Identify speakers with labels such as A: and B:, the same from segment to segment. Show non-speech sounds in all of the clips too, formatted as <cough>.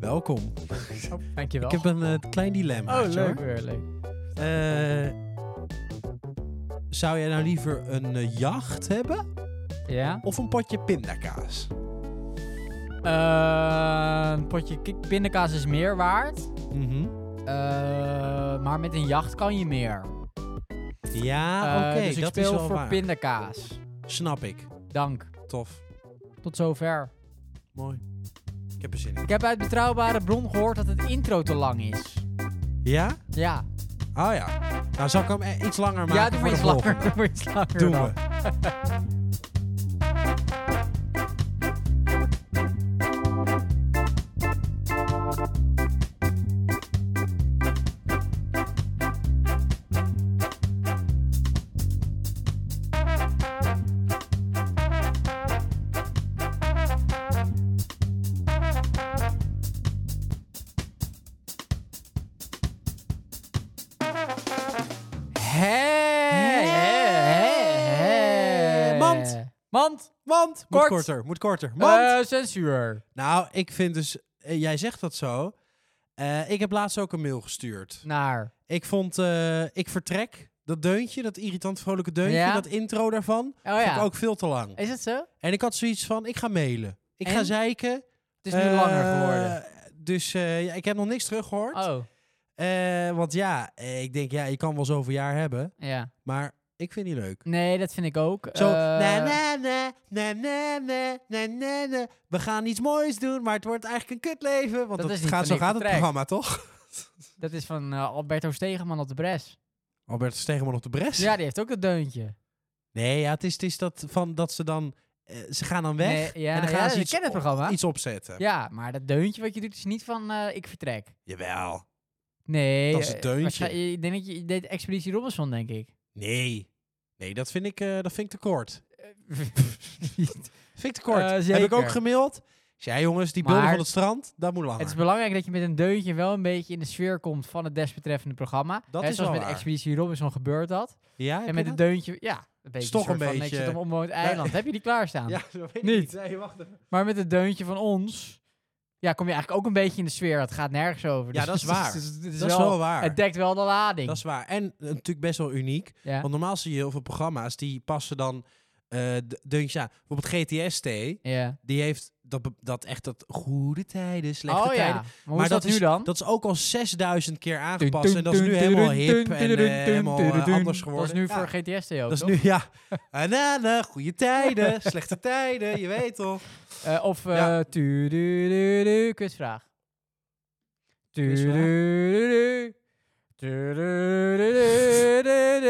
A: Welkom.
B: Oh, dankjewel.
A: Ik heb een eh, klein dilemma. Eh,
B: Oh, leuk weer, leuk.
A: zou jij nou liever een eh, jacht hebben
B: Ja?
A: of een potje pindakaas?
B: Eh, een potje ki- pindakaas is meer waard. Mhm. Eh, maar met een jacht kan je meer.
A: Ja,
B: Eh,
A: Ah, oké.
B: dus ik
A: dat
B: speel
A: is wel
B: voor
A: waar.
B: pindakaas.
A: Snap ik.
B: Dank.
A: Tof.
B: Tot zover.
A: Mooi. Ik heb er zin in.
B: Ik heb uit betrouwbare bron gehoord dat het intro te lang is.
A: Ja?
B: Ja.
A: Oh ja. Nou, zal ik hem eh, iets langer maken
B: ja, doe
A: voor
B: maar
A: de
B: iets langer.
A: volgende?
B: <laughs> Doe maar iets langer
A: Doen
B: dan.
A: we.
B: Hey, hey, hey, hey.
A: Mand.
B: Mand.
A: Mand.
B: Kort.
A: Moet korter. Moet korter. Mand.
B: Eh, censuur.
A: Nou, ik vind dus... eh, jij zegt dat zo. Eh, ik heb laatst ook een mail gestuurd.
B: Naar.
A: Ik vond... eh, ik vertrek. Dat deuntje, dat irritant vrolijke deuntje,
B: Ja?
A: dat intro daarvan,
B: Oh
A: vond ik
B: ja.
A: ook veel te lang.
B: Is het zo?
A: En ik had zoiets van, ik ga mailen. Ik ga
B: En?
A: zeiken. Het
B: Het is
A: Eh,
B: nu langer geworden.
A: Dus eh, ja, ik heb nog niks teruggehoord.
B: Oh,
A: Eh, want ja, eh, ik denk, ja, je kan wel zoveel jaar hebben,
B: ja.
A: maar ik vind die leuk.
B: Nee, dat vind ik ook.
A: Zo,
B: Eh,
A: na, na, na, na, na, na, na, na, na. we gaan iets moois doen, maar het wordt eigenlijk een kutleven. Want
B: Dat
A: dat
B: is niet
A: gaat,
B: van
A: zo
B: ik
A: gaat het
B: vertrek.
A: programma, toch?
B: Dat is van eh, Alberto Stegeman op de
A: <laughs>
B: Bres.
A: Albert is tegenwoordig op de bres.
B: Ja, die heeft ook dat deuntje.
A: Nee, ja, het is, het is dat, van, dat ze dan, eh, ze gaan dan weg
B: Nee, ja,
A: en dan
B: ja,
A: gaan ze
B: ik
A: iets,
B: ken het
A: op-
B: programma.
A: iets opzetten.
B: Ja, maar dat deuntje wat je doet is niet van eh, ik vertrek.
A: Jawel.
B: Nee.
A: Dat is het
B: eh,
A: deuntje.
B: waarschijn- Ik denk dat je je deed Expeditie Robinson, denk
A: <laughs>
B: ik. <laughs>
A: Nee. Nee, dat vind ik, eh, dat vind ik te kort. Vind ik te kort.
B: Eh,
A: Heb ik ook
B: zeker.
A: gemaild. Ik zei, "Ja, jongens, die beelden
B: Maar-
A: van het strand, dat moet langer.
B: het is belangrijk dat je met een deuntje wel een beetje in de sfeer komt van het desbetreffende programma.
A: Dat
B: Hè,
A: is
B: zoals
A: wel
B: met
A: waar.
B: Expeditie Robinson gebeurd dat.
A: ja, heb
B: en met
A: je
B: een
A: dat?
B: deuntje, ja, een beetje
A: Is toch
B: een soort
A: een
B: van,
A: beetje-
B: Ik zit op
A: <laughs>
B: onbewoond eiland. Heb je die klaarstaan?
A: Ja, <laughs> dat weet
B: Niet.
A: ik niet. Nee, wacht even.
B: Maar met het deuntje van ons, ja, kom je eigenlijk ook een beetje in de sfeer. Het gaat nergens over. dus
A: Ja, dat is
B: het
A: waar.
B: het het
A: Dat is wel waar.
B: Het dekt wel de lading.
A: Dat is waar. En eh, natuurlijk best wel uniek.
B: ja.
A: Want normaal zie je heel veel programma's die passen dan eh d- deuntjes aan. Bijvoorbeeld GTST,
B: ja.
A: die heeft dat, be- dat echt dat goede tijden, slechte
B: oh ja,
A: tijden.
B: maar hoe is dat, nu dan?
A: Dat is ook al 6000 keer
B: Dun,
A: aangepast. En
B: dun,
A: dat is nu
B: dun,
A: helemaal
B: dun,
A: hip
B: dun,
A: en
B: dun,
A: eh,
B: dun,
A: helemaal
B: dun,
A: eh,
B: dun.
A: anders
B: Dat
A: geworden.
B: is nu
A: Ja.
B: voor GTS ook,
A: Dat is
B: toch?
A: nu, ja. Anana, goede tijden, <laughs> slechte tijden, je weet toch.
B: Eh, of eh
A: Ja.
B: tu du du du quizvraag. Tu du
A: Quizvraag?
B: du du. Tu du du du du du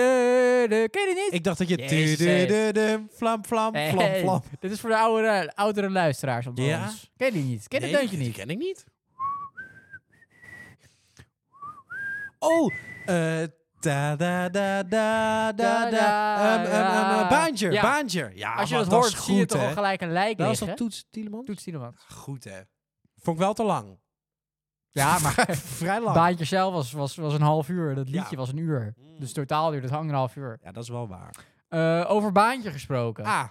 B: du. Ken je die niet?
A: Ik dacht dat je...
B: Jezus,
A: tudududum, Flam, flam, flam,
B: Hey,
A: flam.
B: Dit is voor de oudere, oudere luisteraars onder
A: Ja?
B: ons. Ken je die niet? Ken je
A: Nee,
B: het deuntje
A: die
B: niet?
A: ken ik niet. Oh, eh, da da da da da da.
B: Da, da,
A: Um, um, um,
B: da.
A: eh, Baantje,
B: Ja.
A: baantje. Ja,
B: Als je
A: man,
B: dat hoort,
A: Ah, is
B: zie je
A: goed,
B: toch
A: hè?
B: al gelijk een lijk
A: Dat was
B: liggen.
A: toch Toets Tielemans?
B: Toets Tielemans.
A: Goed, hè. Vond ik wel te lang.
B: <laughs> Ja, maar
A: Vrij lang.
B: Baantje zelf was, was, was een half uur. Dat
A: Ja.
B: liedje was een uur.
A: Mm.
B: Dus totaal duurde het anderhalf uur.
A: Ja, dat is wel waar.
B: Eh, over Baantje gesproken.
A: Ah,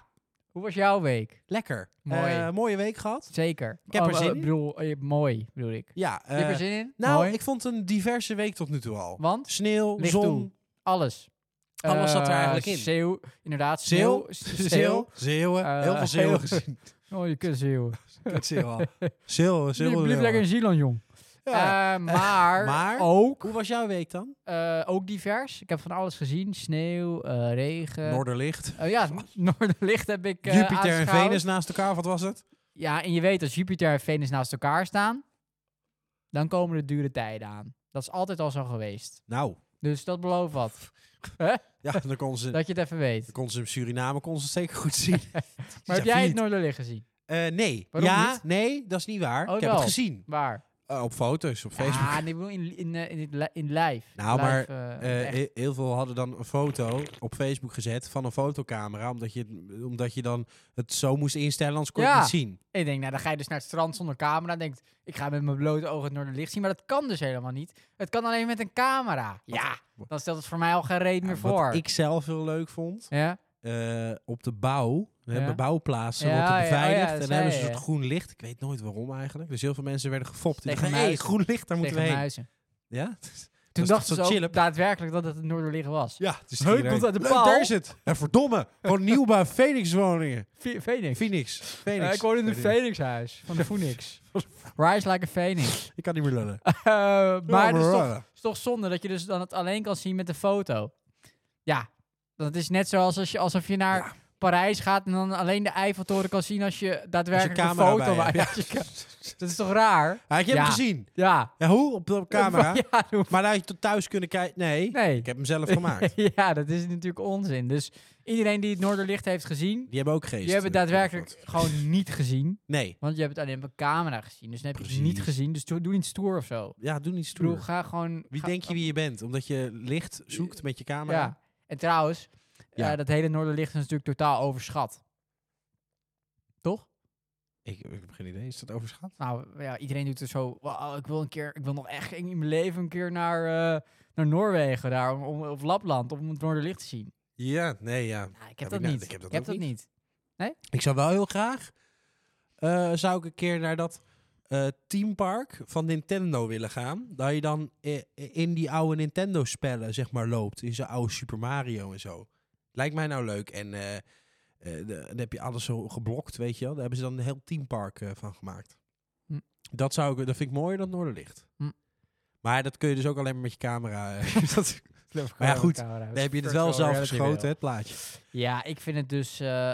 B: Hoe was jouw week?
A: lekker.
B: Mooi.
A: Eh, mooie week gehad.
B: Zeker.
A: Ik heb er
B: Oh, eh,
A: zin in.
B: bedoel, eh, Mooi, bedoel ik.
A: Ja.
B: Heb je
A: eh,
B: er zin in?
A: nou,
B: Mooi.
A: ik vond een diverse week tot nu toe al.
B: Want
A: Sneeuw,
B: Licht toe.
A: zon,
B: alles.
A: Alles zat er
B: Eh,
A: eigenlijk in.
B: Zeeuw, inderdaad.
A: Zeeuw,
B: Zeeuw.
A: <laughs> zeeuw, zeeuwen.
B: Eh,
A: heel veel zeeuwen
B: heel- <laughs>
A: gezien.
B: Oh, je kunt zeeuw.
A: Kut zeeuwen al. Zeeuwen,
B: Blijf
A: zeeuwen.
B: blijf lekker in Zeeland, jong.
A: Ja. <laughs>
B: Eh, maar,
A: maar-
B: ook,
A: Hoe was jouw week dan?
B: eh, ook divers. Ik heb van alles gezien. Sneeuw, eh, regen.
A: Noorderlicht.
B: Eh, ja, <laughs> Noorderlicht heb ik eh,
A: Jupiter en
B: aanschouwd.
A: Venus naast elkaar, wat was het?
B: Ja, en je weet als Jupiter en Venus naast elkaar staan, dan komen de dure tijden aan. Dat is altijd al zo geweest.
A: Nou,
B: Dus dat belooft
A: <laughs>
B: wat.
A: ja, dan kon ze, dan
B: <laughs> Dat je het even weet.
A: kon ze in Suriname kon ze het zeker goed
B: <laughs>
A: zien.
B: Maar heb jij het Noorderlicht gezien?
A: Eh, nee.
B: Waarom
A: ja,
B: niet?
A: nee, dat is niet waar.
B: Oh,
A: ik heb
B: wel.
A: het gezien.
B: Waar?
A: Eh, op foto's, op Facebook.
B: Ja, nou, nee, ik bedoel in, in, eh, in, het li- in live.
A: Nou,
B: Live,
A: maar,
B: eh,
A: Eh,
B: echt.
A: he- heel veel hadden dan een foto op Facebook gezet van een fotocamera. Omdat je, omdat je dan het zo moest instellen, anders kon je
B: Ja.
A: het niet zien.
B: ik denk, nou, dan ga je dus naar het strand zonder camera. en Denkt, ik ga met mijn blote ogen het Noorderlicht zien. Maar dat kan dus helemaal niet. Het kan alleen met een camera. Ja,
A: wat-
B: dan stelt het voor mij al geen reet meer
A: Ja,
B: voor.
A: Wat ik zelf heel leuk vond,
B: Ja?
A: eh, op de bouw, hè,
B: Ja.
A: bij bouwplaatsen
B: Ja,
A: wordt
B: ja,
A: het
B: oh ja,
A: beveiligd.
B: dat
A: en
B: zei
A: hebben ze
B: je,
A: een soort
B: ja.
A: groen licht. Ik weet nooit waarom eigenlijk. Dus heel veel mensen werden gefopt. Die
B: Tegen
A: dachten, hey,
B: muizen.
A: groen licht, daar moeten
B: Tegen
A: we heen.
B: muizen.
A: Ja?
B: Toen
A: is
B: dachten
A: toch
B: ze
A: zo
B: ook
A: chillen?
B: daadwerkelijk dat het het Noorderlicht was.
A: Ja, <laughs> dus
B: Hey,
A: iedereen,
B: komt uit de
A: "Leuk,
B: paal."
A: daar is het. En verdomme, gewoon nieuwbouw <laughs> Phoenix woningen.
B: Phoenix. Phoenix.
A: Phoenix. Phoenix.
B: Ja, ik woon in een Phoenixhuis van de Phoenix. <laughs> Rise like a Phoenix.
A: Ik kan niet meer lullen.
B: <laughs> Eh, maar het is toch,
A: Ja,
B: is toch zonde dat je dus dan het alleen kan zien met de foto. Ja, dat is net zoals als je, alsof je naar
A: Ja.
B: Parijs gaat en dan alleen de Eiffeltoren kan zien als je daadwerkelijk een
A: camera
B: foto
A: bij je
B: maakt. <laughs> Ja, je ka- dat is toch raar?
A: ik heb hem
B: Ja.
A: gezien.
B: Ja.
A: Ja, hoe? Op de camera.
B: <laughs> Ja, doe-
A: Maar daar had je tot thuis kunnen kijken. Nee,
B: nee.
A: ik
B: <laughs>
A: heb hem zelf <laughs> gemaakt.
B: ja, dat is natuurlijk onzin. Dus iedereen die het Noorderlicht heeft gezien,
A: Die hebben ook geest.
B: die hebben het
A: eh,
B: daadwerkelijk gewoon niet gezien.
A: Nee.
B: Want je hebt het alleen op een camera gezien. Dus dan heb je het niet
A: Precies.
B: gezien. Dus doe, doe niet stoer of zo.
A: Ja, doe niet
B: Ik bedoel,
A: stoer.
B: ga gewoon...
A: Wie
B: ga-
A: denk je wie je bent? Omdat je licht zoekt met je camera?
B: Ja. En trouwens,
A: Ja.
B: eh, dat hele Noorderlicht is natuurlijk totaal overschat. Toch?
A: Ik, ik heb geen idee. Is dat overschat?
B: Nou, ja, iedereen doet er zo... "Wauw, ik wil een keer... Ik wil nog echt in mijn leven een keer naar, eh, naar Noorwegen, daar, om, om- of Lapland, om het Noorderlicht te zien.
A: Ja, nee, ja.
B: Nou, ik
A: Heb
B: heb
A: ik
B: dat
A: nou-
B: niet.
A: ik heb dat
B: Je hebt
A: ook
B: dat niet.
A: Ik zou wel heel graag... eh, zou ik een keer naar dat eh teampark van Nintendo willen gaan. Daar je dan i- in die oude Nintendo-spellen, zeg maar, loopt. In zijn oude Super Mario en zo. Lijkt mij nou leuk. En eh, eh, de- dan heb je alles zo geblokt, weet je wel. Daar hebben ze dan een heel teampark eh, van gemaakt.
B: Hm.
A: Dat, zou ik, dat vind ik mooier dan Noorderlicht.
B: Hm.
A: Maar dat kun je dus ook alleen maar met je camera. eh, <laughs> dat Maar ja, goed, Dan heb je het wel zelf geschoten, het plaatje.
B: Ja, ik vind het dus eh,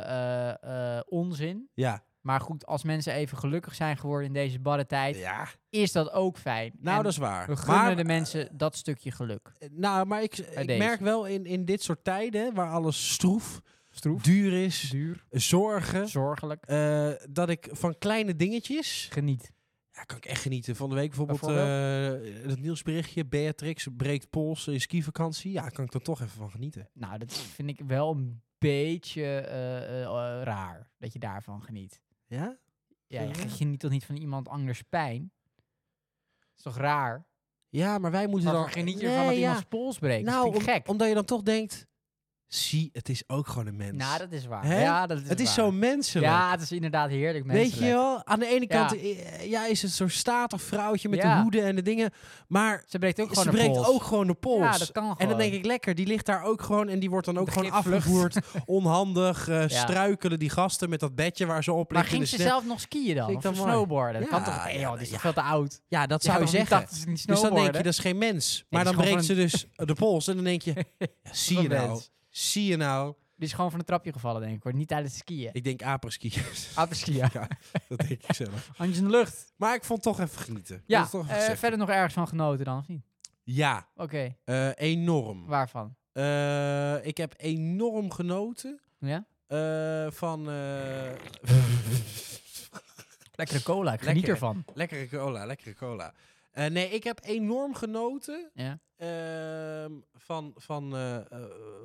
B: eh, eh, onzin.
A: Ja.
B: Maar goed, als mensen even gelukkig zijn geworden in deze barre tijd,
A: ja.
B: is dat ook fijn.
A: Nou,
B: En
A: dat is waar.
B: we gunnen
A: maar,
B: de mensen dat stukje geluk.
A: nou, maar ik, ik
B: deze.
A: merk wel in, in dit soort tijden, waar alles stroef,
B: Stroef,
A: duur is,
B: duur,
A: zorgen,
B: zorgelijk.
A: eh, dat ik van kleine dingetjes...
B: Geniet.
A: Ja, kan ik echt genieten. Van de week bijvoorbeeld eh dat nieuwsberichtje, Beatrix breekt pols in skivakantie. Ja, kan ik er toch even van genieten.
B: Nou, dat vind ik wel een beetje eh, eh, eh, raar dat je daarvan geniet.
A: Ja?
B: Ja,
A: Ja.
B: je geniet toch niet van iemand anders pijn? Dat is toch raar?
A: Ja, maar wij moeten
B: Waarvan
A: dan...
B: geniet je
A: Nee,
B: ervan dat
A: ja.
B: iemands pols breekt? Nou,
A: Nou,
B: dat vind ik
A: om-
B: gek.
A: omdat je dan toch denkt... Zie, het is ook gewoon een mens.
B: nou, dat is waar.
A: Hè?
B: Ja, dat is
A: het is
B: waar.
A: zo menselijk.
B: Ja, het is inderdaad heerlijk
A: Weet
B: menselijk.
A: je wel, aan de ene
B: Ja.
A: kant eh, ja, is het zo'n statig vrouwtje met de
B: Ja.
A: hoeden en de dingen. Maar
B: Ze breekt ook
A: ze
B: gewoon een
A: breekt
B: pols.
A: ook gewoon de pols.
B: Ja, dat kan gewoon.
A: en dan denk ik, lekker, die ligt daar ook gewoon en die wordt dan ook gewoon
B: Begripvlucht.
A: afgevoerd.
B: <laughs>
A: Onhandig, eh,
B: Ja.
A: struikelen die gasten met dat bedje waar ze op
B: Maar
A: ligt. in
B: ging
A: de
B: ze
A: sneeuw.
B: zelf nog skiën dan?
A: Vind
B: Of
A: dus ik dan mooi.
B: snowboarden? Dat
A: Ja,
B: kan toch? Nee,
A: ja,
B: joh, die is
A: ja.
B: toch veel te oud?
A: Ja, dat
B: Je
A: zou je
B: toch niet
A: zeggen.
B: Dat is niet
A: Dus dan
B: snowboarden.
A: denk je, dat is geen mens. Maar
B: is
A: dan breekt
B: gewoon
A: ze dus de pols en dan denk
B: <laughs>
A: je, ja, zie je
B: Van
A: nou,
B: mens.
A: zie je nou.
B: Die is gewoon van een trapje gevallen, denk ik hoor. Niet tijdens het skiën.
A: Ik denk apreski.
B: <laughs> Aperski,
A: <laughs>
B: ja.
A: dat denk ik zelf.
B: Handjes in de lucht.
A: Maar ik vond toch even genieten. Dat
B: Ja,
A: is toch even
B: eh,
A: gezegd.
B: verder nog ergens van genoten dan, of niet?
A: Ja,
B: Oké,
A: eh, enorm.
B: waarvan?
A: Eh, ik heb enorm genoten
B: Ja?
A: eh, van eh,
B: Lekkere cola, ik geniet
A: Lekker, hè?
B: ervan.
A: lekkere cola, lekkere cola. Eh, nee, ik heb enorm genoten
B: Ja.
A: ehm, van, van, eh, eh,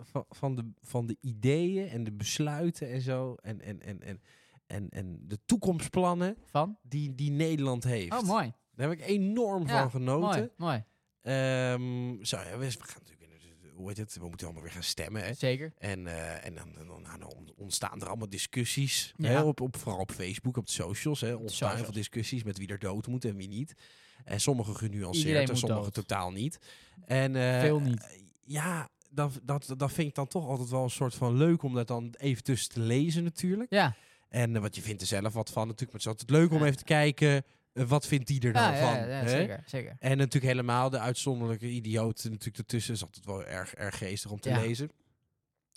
A: van, van, de, van de ideeën en de besluiten en zo. En, en, en, en, en, en de toekomstplannen
B: Van?
A: die, die Nederland heeft.
B: Oh, mooi.
A: Daar heb ik enorm
B: Ja,
A: van genoten.
B: Mooi, mooi.
A: Ehm, zo, ja, we we gaan natuurlijk... in de- Hoe heet het? We moeten allemaal weer gaan stemmen, hè?
B: Zeker.
A: En, eh, en dan, dan, dan- dan on- ontstaan er allemaal discussies.
B: Ja.
A: Hè, op, op, vooral op Facebook, op de socials. Hè, ontstaan heel veel
B: socials.
A: discussies met wie er dood moet en wie niet. En sommige
B: Iedereen
A: genuanceerd en
B: moet
A: sommige
B: dood.
A: totaal niet. En, eh,
B: Veel niet.
A: Ja, dat, dat, dat vind ik dan toch altijd wel een soort van leuk om dat dan even tussen te lezen natuurlijk.
B: Ja,
A: En eh, wat je vindt er zelf wat van natuurlijk. Maar het is altijd leuk om
B: Ja.
A: even te kijken, eh, wat vindt die er
B: ja,
A: dan
B: ja,
A: van?
B: ja, ja,
A: hè?
B: zeker, zeker.
A: En natuurlijk helemaal de uitzonderlijke idioot natuurlijk ertussen. is altijd wel erg, erg geestig om te
B: Ja.
A: lezen.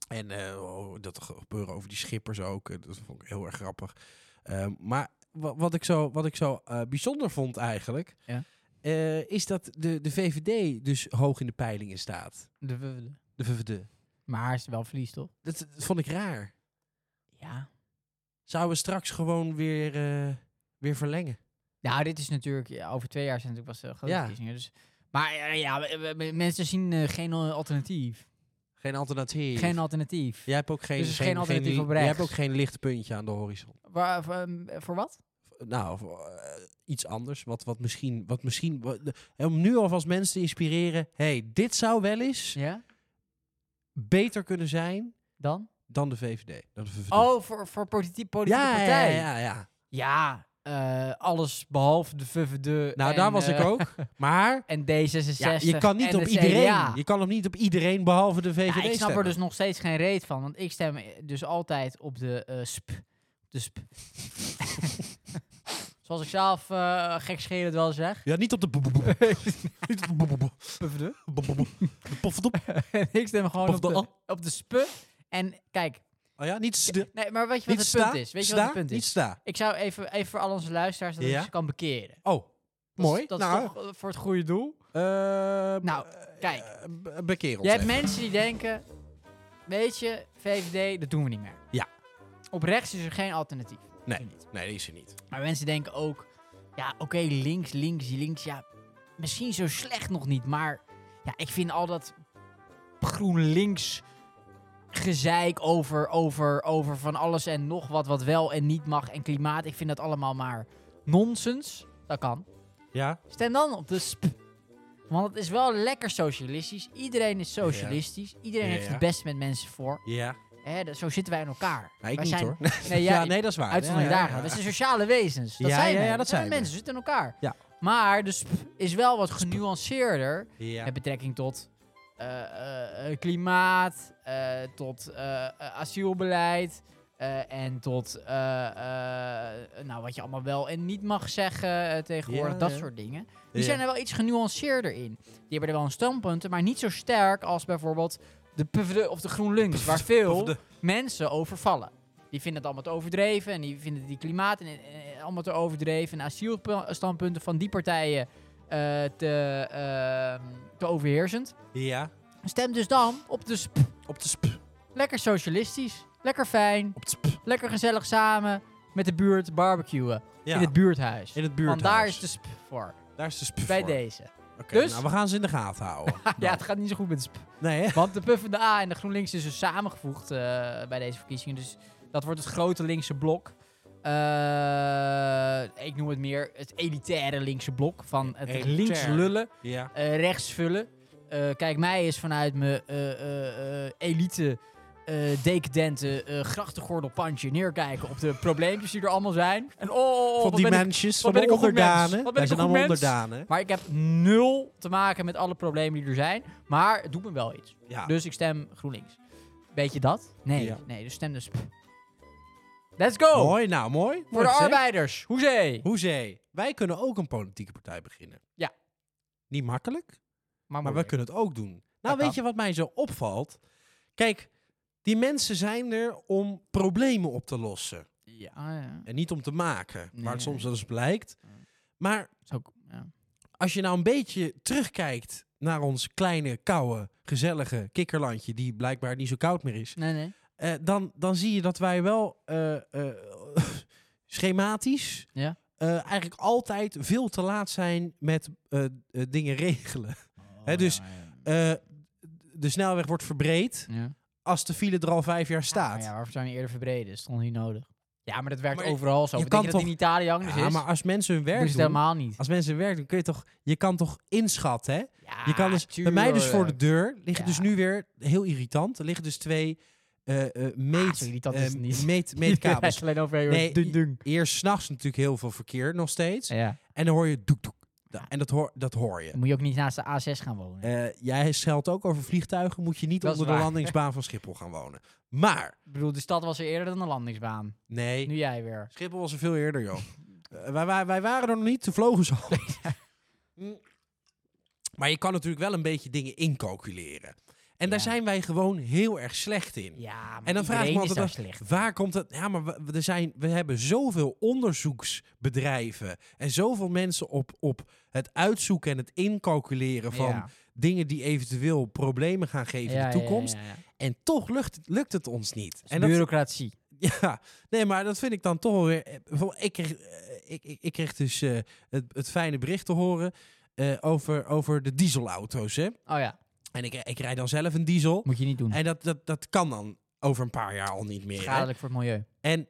A: En eh, oh, dat gebeuren over die schippers ook. eh, Dat vond ik heel erg grappig. Ehm, maar wa- wat ik zo, wat ik zo eh, bijzonder vond eigenlijk...
B: Ja.
A: eh, is dat de, de VVD dus hoog in de peilingen staat.
B: De wubbelen.
A: De VVD.
B: Maar is wel verlies, toch?
A: Dat, dat vond ik raar.
B: Ja.
A: Zouden we straks gewoon weer, eh, weer verlengen?
B: Nou, dit is natuurlijk, ja, over twee jaar zijn natuurlijk pas de grote
A: Ja.
B: verkiezingen. Dus, maar eh, ja, we- we- we- mensen zien eh, geen eh, alternatief.
A: Geen alternatief.
B: Geen alternatief.
A: Jij hebt ook geen,
B: Dus er is geen alternatief op
A: Jij
B: rechts.
A: hebt ook geen lichtpuntje aan de horizon.
B: Waar, voor, ehm, voor wat?
A: Nou, of, eh, iets anders. Wat, wat misschien. Wat misschien wat- en om nu alvast mensen te inspireren. hey, dit zou wel eens
B: Ja?
A: beter kunnen zijn
B: Dan?
A: dan de VVD. Dan de VVD.
B: Oh, voor, voor politieke, politieke
A: ja, ja,
B: partij.
A: ja, ja.
B: Ja, eh, alles behalve de VVD.
A: Nou,
B: en,
A: daar was
B: eh,
A: ik
B: <laughs>
A: ook. Maar
B: En D66.
A: ja, je kan niet
B: en
A: op
B: de
A: iedereen.
B: CDA.
A: Je kan hem niet op iedereen behalve de VVD
B: Ja, ik snap
A: stemmen.
B: er dus nog steeds geen reet van. Want ik stem eh, dus altijd op de eh, sp. De
A: <laughs>
B: sp. <laughs> Zoals ik zelf eh gek schelen wel zeg.
A: Ja, niet op de boeboeboe. <laughs> niet op de boeboeboe. Boeboeboe. De poffertop.
B: <laughs> en ik stem gewoon
A: Of
B: op
A: de
B: de,
A: al.
B: op de sp. En kijk,
A: Oh ja, niet sta.
B: nee, maar weet je wat
A: Niet
B: het
A: sta.
B: punt is? Weet je
A: sta,
B: wat het punt
A: Niet
B: is?
A: sta.
B: Ik zou even, even voor al onze luisteraars dat ik
A: Ja?
B: ze kan bekeren.
A: Oh,
B: Dat is-
A: mooi.
B: Dat
A: nou,
B: is toch eh, voor het goede doel.
A: eh,
B: Nou,
A: eh,
B: kijk.
A: eh, bekeer ons
B: Je hebt
A: even.
B: mensen die denken, weet je, VVD, dat doen we niet meer.
A: Ja.
B: Op rechts is er geen alternatief.
A: Nee. Nee, die is er niet.
B: Maar mensen denken ook, ja, oké, links, links, links, ja, misschien zo slecht nog niet, maar ja, ik vind al dat GroenLinks gezeik over, over, over van alles en nog wat, wat wel en niet mag en klimaat, ik vind dat allemaal maar nonsens. Dat kan.
A: Ja?
B: Stem dan op de sp. Want het is wel lekker socialistisch. Iedereen is socialistisch. Iedereen
A: Ja,
B: heeft
A: ja.
B: het best met mensen voor.
A: Ja.
B: Hè, dat- zo zitten wij in
A: <laughs>
B: elkaar.
A: Nee, ik
B: wij
A: niet
B: zijn
A: hoor.
B: Nee, jij-
A: <laughs> ja, nee, dat is waar.
B: uitzondering
A: ja, ja,
B: daar.
A: ja.
B: We zijn sociale wezens. Dat
A: Ja,
B: zijn
A: ja,
B: wij.
A: ja, dat zijn
B: zijn
A: we.
B: mensen. We zitten in elkaar.
A: Ja.
B: Maar de sp is wel wat genuanceerder
A: Ja.
B: met betrekking tot eh, eh, eh, klimaat, eh, tot eh, eh, asielbeleid eh, en tot eh, eh, nou, wat je allemaal wel en niet mag zeggen eh, tegenwoordig,
A: Ja,
B: dat
A: ja.
B: soort dingen. Die
A: Ja.
B: zijn er wel iets genuanceerder in. Die hebben er wel een standpunten, maar niet zo sterk als bijvoorbeeld de PvdA of de GroenLinks, waar veel
A: PvdA.
B: mensen over vallen. Die vinden het allemaal te overdreven en die vinden die klimaat en, en- en allemaal te overdreven en asielstandpunten van die partijen eh, te, eh, te overheersend.
A: Ja.
B: Stem dus dan op de sp.
A: Op de sp.
B: Lekker socialistisch, lekker fijn,
A: Op de sp.
B: lekker gezellig samen met de buurt barbecuen
A: Ja.
B: in het buurthuis.
A: in het
B: Want
A: buurthuis.
B: daar is de sp voor,
A: Daar is de sp
B: bij
A: voor. Nou.
B: deze. <laughs>
A: Oké,
B: Dus-
A: nou, we gaan ze in de gaten houden.
B: <laughs> Ja,
A: Dan.
B: het gaat niet zo goed met de sp.
A: Nee, hè?
B: Want de Puff en de A en de GroenLinks is dus samengevoegd eh, bij deze verkiezingen. Dus dat wordt het grote linkse blok. Eh, ik noem het meer het elitaire linkse blok. Van het
A: Elitair.
B: links lullen,
A: Ja.
B: eh, rechts vullen. Eh, kijk, mij is vanuit mijn eh, eh, eh, elite eh dekdenten eh grachtengordelpandje neerkijken op de probleempjes die er allemaal zijn. En oh, oh, oh,
A: van
B: wat
A: die
B: ben ik-
A: mensjes,
B: wat
A: van
B: ben
A: de
B: ik een goed mens?
A: onderdanen.
B: Wat ben
A: Wij
B: ik
A: zijn
B: een goed
A: allemaal
B: mens?
A: onderdanen.
B: Maar ik heb nul te maken met alle problemen die er zijn. Maar het doet me wel iets.
A: Ja.
B: Dus ik stem GroenLinks. Weet je dat? Nee,
A: Ja.
B: nee, dus stem dus. Let's go!
A: Mooi, nou mooi.
B: Oh. Voor
A: Mooi
B: de
A: gezegd.
B: arbeiders. Hoezee!
A: Hoezee. Wij kunnen ook een politieke partij beginnen.
B: Ja.
A: Niet makkelijk, maar we
B: moeilijk.
A: kunnen het ook doen. Nou, weet
B: kan.
A: je wat mij zo opvalt? Kijk, die mensen zijn er om problemen op te lossen.
B: Ja, ja.
A: En niet om te maken, waar het
B: Nee.
A: soms wel eens blijkt.
B: Ja.
A: Maar
B: Is ook, ja.
A: als je nou een beetje terugkijkt naar ons kleine, koude, gezellige kikkerlandje... die blijkbaar niet zo koud meer is...
B: Nee, nee.
A: eh, dan, dan zie je dat wij wel eh, eh, <laughs> schematisch
B: Ja.
A: eh, eigenlijk altijd veel te laat zijn met eh, eh, dingen regelen. Hè, dus-
B: Oh, ja, ja.
A: Eh, de snelweg wordt verbreed
B: Ja.
A: als de file er al vijf jaar
B: Maar
A: staat.
B: ja, waarvoor zijn die eerder verbreden? dus Is toch niet nodig? Ja, maar dat werkt
A: Maar je-
B: overal zo.
A: je
B: Je kan
A: kan
B: dat
A: toch-
B: in Italië anders
A: Ja,
B: is?
A: maar Oh, als mensen hun
B: Doen
A: werk
B: ze het
A: doen,
B: helemaal niet.
A: als mensen hun werk doen, kun je toch, je kan toch inschatten, hè?
B: Ja,
A: Je kan dus, bij mij dus voor de
B: Ah, tuurlijk.
A: deur liggen
B: Ja.
A: dus nu weer heel irritant. Er liggen dus twee eh eh meet,
B: Ah, zo irritant is
A: eh,
B: het niet. <laughs>
A: meet,
B: Je
A: meetkabels.
B: rijdt alleen over je
A: Nee,
B: dun, dun.
A: Eerst s'nachts natuurlijk heel veel verkeer nog steeds.
B: Ja.
A: En dan hoor je doek doek. Da- En dat hoor, dat hoor je.
B: Dan moet je ook niet naast de A6 gaan wonen.
A: Eh, jij scheldt ook over vliegtuigen. Moet je niet
B: Dat is
A: onder de
B: waar.
A: landingsbaan van Schiphol gaan wonen. Maar,
B: Ik bedoel, de stad was er eerder dan de landingsbaan.
A: nee,
B: Nu jij weer.
A: Schiphol was er veel eerder, joh. Eh, wij, wij, wij waren er nog niet, te vlogen ze
B: <laughs>
A: al. Mm. maar je kan natuurlijk wel een beetje dingen incalculeren. En daar
B: Ja.
A: zijn wij gewoon heel erg slecht in.
B: Ja, maar
A: En dan vraag ik me
B: iedereen
A: altijd
B: is daar slecht.
A: Waar komt dat? Ja, maar we, we- er zijn, we hebben zoveel onderzoeksbedrijven en zoveel mensen op, op het uitzoeken en het incalculeren van
B: Ja.
A: dingen die eventueel problemen gaan geven
B: Ja,
A: in
B: ja,
A: de toekomst.
B: ja, ja, ja.
A: En toch lukt, lukt het ons niet.
B: Dus
A: En dat,
B: bureaucratie.
A: Ja, nee, maar dat vind ik dan toch wel weer. eh, bijvoorbeeld, Ik kreeg, eh, ik, ik, ik kreeg dus eh, het, het fijne bericht te horen eh, over, over de dieselauto's. Hè?
B: Oh ja,
A: En ik, ik rijd dan zelf een diesel.
B: moet je niet doen.
A: En dat, dat, dat kan dan over een paar jaar al niet meer. hè.
B: Mm. Schadelijk voor het milieu.
A: En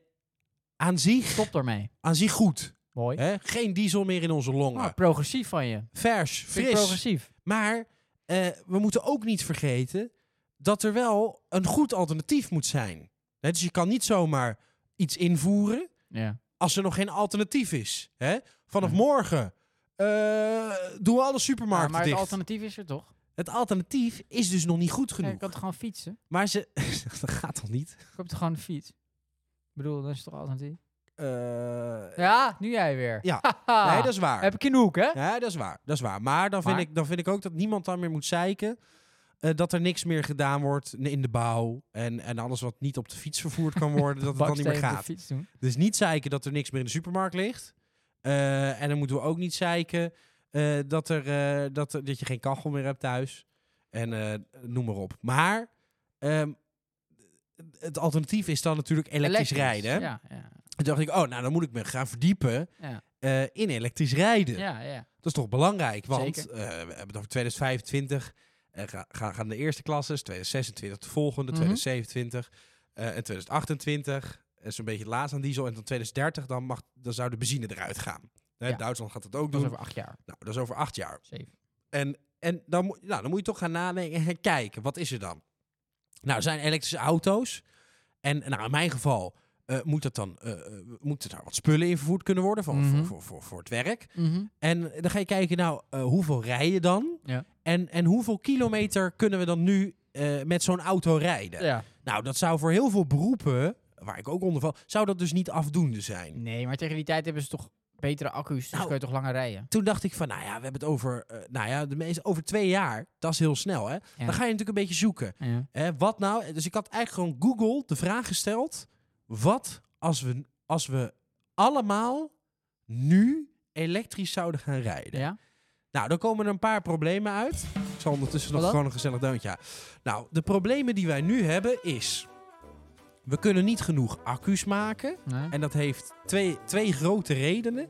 A: aan zich,
B: Stop ermee.
A: aan zich goed.
B: Mooi.
A: Hè? Geen diesel meer in onze longen.
B: Ah, progressief van je.
A: Vers,
B: Vind ik
A: fris.
B: progressief.
A: Maar eh, we moeten ook niet vergeten dat er wel een goed alternatief moet zijn. Hè, dus je kan niet zomaar iets invoeren
B: Ja.
A: als er nog geen alternatief is. Hè? Vanaf
B: Ja.
A: morgen eh, doen we alle
B: Maar,
A: supermarkten
B: maar het
A: dicht.
B: alternatief is er toch?
A: het alternatief is dus nog niet goed
B: Ja,
A: genoeg.
B: je kan toch gewoon fietsen?
A: Maar ze... <laughs> dat gaat toch niet?
B: Koop toch gewoon een fiets? Ik bedoel, dat is toch alternatief?
A: Eh,
B: Ja, nu jij weer.
A: Ja.
B: <laughs> Haha.
A: Nee, dat is waar.
B: Heb ik in de hoek, hè?
A: Ja, dat is waar. Dat is waar. Maar dan vind,
B: Maar?
A: Ik, dan vind ik ook dat niemand dan meer moet zeiken. eh, dat er niks meer gedaan wordt in de bouw. En, en alles wat niet op de fiets vervoerd kan worden, dat het dan niet meer
B: Baksteen op de
A: gaat.
B: fiets doen.
A: Dus niet zeiken dat er niks meer in de supermarkt ligt. Eh, en dan moeten we ook niet zeiken eh, dat, er, eh, dat, er- dat je geen kachel meer hebt thuis. En eh, noem maar op. Maar ehm, het alternatief is dan natuurlijk elektrisch, rijden. hè?
B: Ja, ja,
A: Toen dacht ik, oh, nou dan moet ik me gaan verdiepen
B: ja.
A: eh, in elektrisch rijden.
B: ja, ja.
A: Dat is toch belangrijk, want
B: Zeker.
A: eh, we hebben het over 2025. eh, ga- ga- gaan de eerste klasses, 2026 de volgende,
B: Mhm.
A: 2027 eh, en 2028. Dat is een beetje laat aan diesel. En dan 2030, dan, mag, dan zou de benzine eruit gaan. Hè,
B: Ja.
A: Duitsland gaat dat ook
B: Dat
A: doen.
B: is over acht jaar.
A: Nou, dat is over acht jaar.
B: Zeven.
A: En, en dan, moet- nou, dan moet je toch gaan nadenken en gaan kijken. Wat is er dan? Nou, er zijn elektrische auto's. En nou, in mijn geval eh, moet dat dan, eh eh, moeten daar wat spullen in vervoerd kunnen worden van,
B: Mhm.
A: voor, voor, voor, voor het werk. En dan ga je kijken, nou, eh, hoeveel rij je dan?
B: Ja.
A: En, en hoeveel kilometer kunnen we dan nu eh, met zo'n auto rijden?
B: ja.
A: Nou, dat zou voor heel veel beroepen, waar ik ook onder val, zou dat dus niet afdoende zijn.
B: Nee, maar tegen die tijd hebben ze toch betere accu's, dus
A: Nou.
B: kun je toch langer rijden.
A: Toen dacht ik van, nou ja, we hebben het over, eh, nou ja, de meeste, over twee jaar. Dat is heel snel, hè? Dan ga je natuurlijk een beetje zoeken.
B: Ja.
A: Hè? Wat nou? Dus ik had eigenlijk gewoon Google de vraag gesteld. Wat als we, als we allemaal nu elektrisch zouden gaan rijden?
B: ja?
A: Nou, dan komen er een paar problemen uit. Ik zal ondertussen nog
B: Wat dan?
A: gewoon een gezellig deuntje aan. Nou, de problemen die wij nu hebben is... We kunnen niet genoeg accu's maken.
B: Nee.
A: En dat heeft twee, twee grote redenen.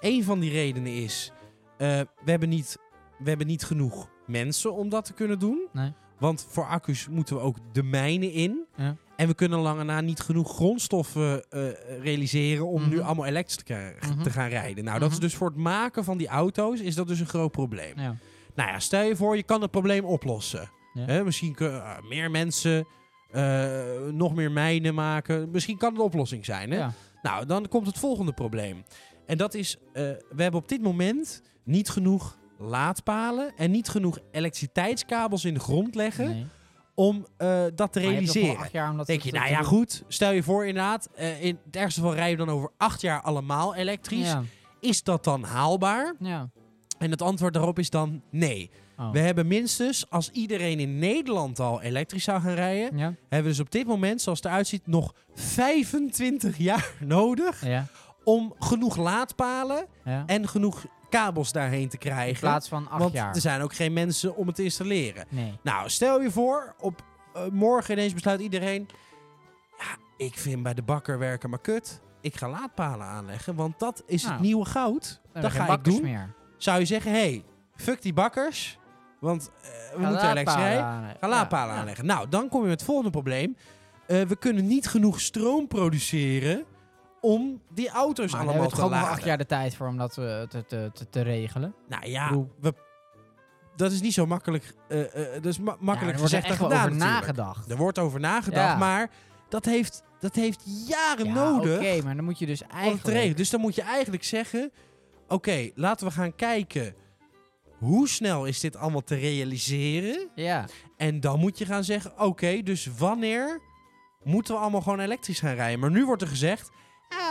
A: Eén van die redenen is... eh, we, hebben niet, we hebben niet genoeg mensen om dat te kunnen doen.
B: Nee.
A: Want voor accu's moeten we ook de mijnen in.
B: Ja.
A: En we kunnen lange na niet genoeg grondstoffen eh, realiseren... om nu
B: Mhm.
A: allemaal elektrisch te, krijgen
B: Mhm.
A: te gaan rijden. Nou, dat is
B: Mhm.
A: dus voor het maken van die auto's is dat dus een groot probleem.
B: Ja.
A: Nou ja, stel je voor, je kan het probleem oplossen.
B: Ja.
A: Hè, misschien kunnen eh, meer mensen eh, nog meer mijnen maken. Misschien kan het een oplossing zijn. Hè?
B: Ja.
A: Nou, dan komt het volgende probleem. En dat is, eh, we hebben op dit moment niet genoeg laadpalen en niet genoeg elektriciteitskabels in de grond leggen
B: Nee.
A: om eh, dat te
B: Maar je hebt toch wel
A: realiseren.
B: acht jaar om dat
A: Denk
B: te-
A: je,
B: te
A: nou ja,
B: doen?
A: goed. Stel je voor inderdaad, eh, in het ergste geval rijden we dan over acht jaar allemaal elektrisch.
B: Ja.
A: Is dat dan haalbaar?
B: ja.
A: En het antwoord daarop is dan nee.
B: Oh.
A: We hebben minstens, als iedereen in Nederland al elektrisch zou gaan rijden,
B: ja.
A: hebben we dus op dit moment, zoals het eruit ziet, nog 25 jaar <laughs> nodig
B: Ja.
A: om genoeg laadpalen
B: ja.
A: en genoeg kabels daarheen te
B: In
A: krijgen.
B: plaats van acht
A: want
B: jaar.
A: er zijn ook geen mensen om het te installeren.
B: Nee.
A: Nou, stel je voor, op eh, morgen ineens besluit iedereen... Ja, ik vind bij de bakker werken maar kut. Ik ga laadpalen aanleggen, want dat is het
B: Nou.
A: nieuwe goud. Dat
B: Dan hebben we geen
A: ga ik
B: bakkers
A: doen
B: Meer.
A: zou je zeggen: hey, fuck die bakkers. Want eh, we
B: Ga
A: moeten elektrisch
B: laadpalen
A: rijden.
B: aanleggen.
A: Ga laadpalen
B: Ja.
A: aanleggen. Nou, dan kom je met het volgende probleem. Eh, we kunnen niet genoeg stroom produceren om die auto's
B: Maar daar hebben
A: Dus allemaal
B: we toch
A: te
B: ook nog
A: laden.
B: acht jaar de tijd voor om dat eh, te, te, te, te regelen.
A: Nou ja,
B: Bedoel-
A: we, dat is niet zo makkelijk. eh, eh, dat is ma-
B: Ja,
A: makkelijk
B: er wordt er
A: gezegd
B: echt
A: dan
B: wel over
A: gedaan natuurlijk.
B: nagedacht.
A: Er wordt over nagedacht,
B: Ja.
A: maar dat heeft, dat heeft jaren
B: Ja,
A: nodig.
B: Oké, maar dan moet je dus
A: om het te
B: eigenlijk...
A: regelen. Dus dan moet je eigenlijk zeggen: oké, laten we gaan kijken hoe snel is dit allemaal te realiseren.
B: Ja.
A: En dan moet je gaan zeggen: oké, dus wanneer moeten we allemaal gewoon elektrisch gaan rijden? Maar nu wordt er gezegd: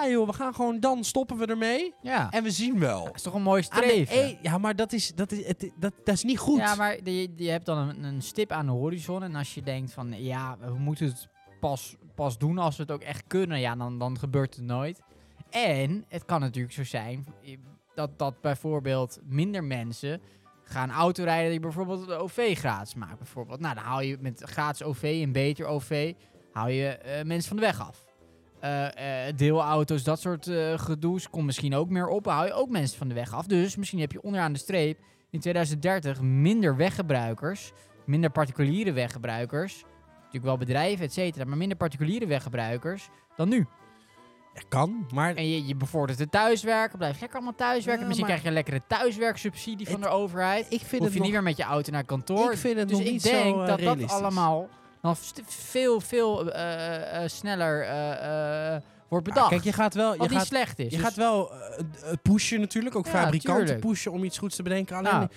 A: ah joh, we gaan gewoon dan stoppen we ermee
B: Ja.
A: en we zien wel.
B: Dat is toch een mooi
A: Aan de
B: streven.
A: e- ja, maar dat is, dat, is, het, dat, dat is niet goed.
B: Ja, maar je, je hebt dan een, een stip aan de horizon. En als je denkt van, ja, we moeten het pas, pas doen als we het ook echt kunnen. Ja, dan, dan gebeurt het nooit. En het kan natuurlijk zo zijn dat, dat bijvoorbeeld minder mensen gaan autorijden die bijvoorbeeld de OV gratis maakt. Bijvoorbeeld. Nou, dan haal je met gratis OV en beter OV, hou je eh, mensen van de weg af. eh, eh, deelauto's, dat soort eh gedoes, komt misschien ook meer op. Hou je ook mensen van de weg af. Dus misschien heb je onderaan de streep in 2030 minder weggebruikers, minder particuliere weggebruikers. Natuurlijk wel bedrijven, et cetera, maar minder particuliere weggebruikers dan nu.
A: Ja, kan, maar
B: En je, je bevordert het thuiswerken, blijft lekker allemaal thuiswerken.
A: Ja,
B: misschien
A: maar-
B: krijg je een lekkere thuiswerksubsidie van
A: Het-
B: de overheid.
A: ik vind
B: Hoef
A: het
B: je niet
A: nog,
B: meer met je auto naar kantoor.
A: ik vind het
B: Dus
A: nog
B: ik
A: niet
B: denk
A: zo eh,
B: dat dat
A: realistisch.
B: allemaal dan st- veel, veel eh, eh, sneller eh, eh, wordt
A: Ja,
B: bedacht.
A: Ah, kijk, je gaat wel, je
B: wat niet
A: gaat,
B: slecht is.
A: je
B: Dus-
A: gaat wel eh, eh, pushen natuurlijk, ook
B: Ja,
A: fabrikanten
B: tuurlijk.
A: pushen om iets goeds te bedenken. Alleen,
B: Ja.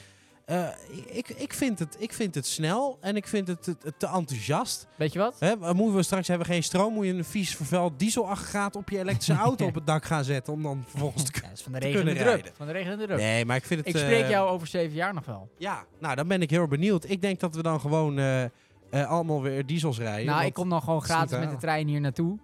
A: eh, ik, ik, vind het, ik vind het snel en ik vind het te, te enthousiast.
B: Weet je wat?
A: Hè, maar moeten we straks hebben we geen stroom, moet je een vies vervuild dieselaggregaat op je
B: <laughs>
A: elektrische auto op het dak gaan zetten om dan vervolgens te
B: Ja, dat is van de
A: te
B: regen en de
A: kunnen
B: drup.
A: rijden.
B: Van de regen en de drup.
A: kunnen... Nee, maar ik vind het...
B: ik spreek
A: eh,
B: jou over zeven jaar nog wel.
A: Ja, nou dan ben ik heel benieuwd. Ik denk dat we dan gewoon eh, eh, allemaal weer diesels rijden.
B: nou,
A: want-
B: ik kom dan gewoon
A: is niet
B: gratis
A: te
B: met de
A: halen.
B: trein hier naartoe.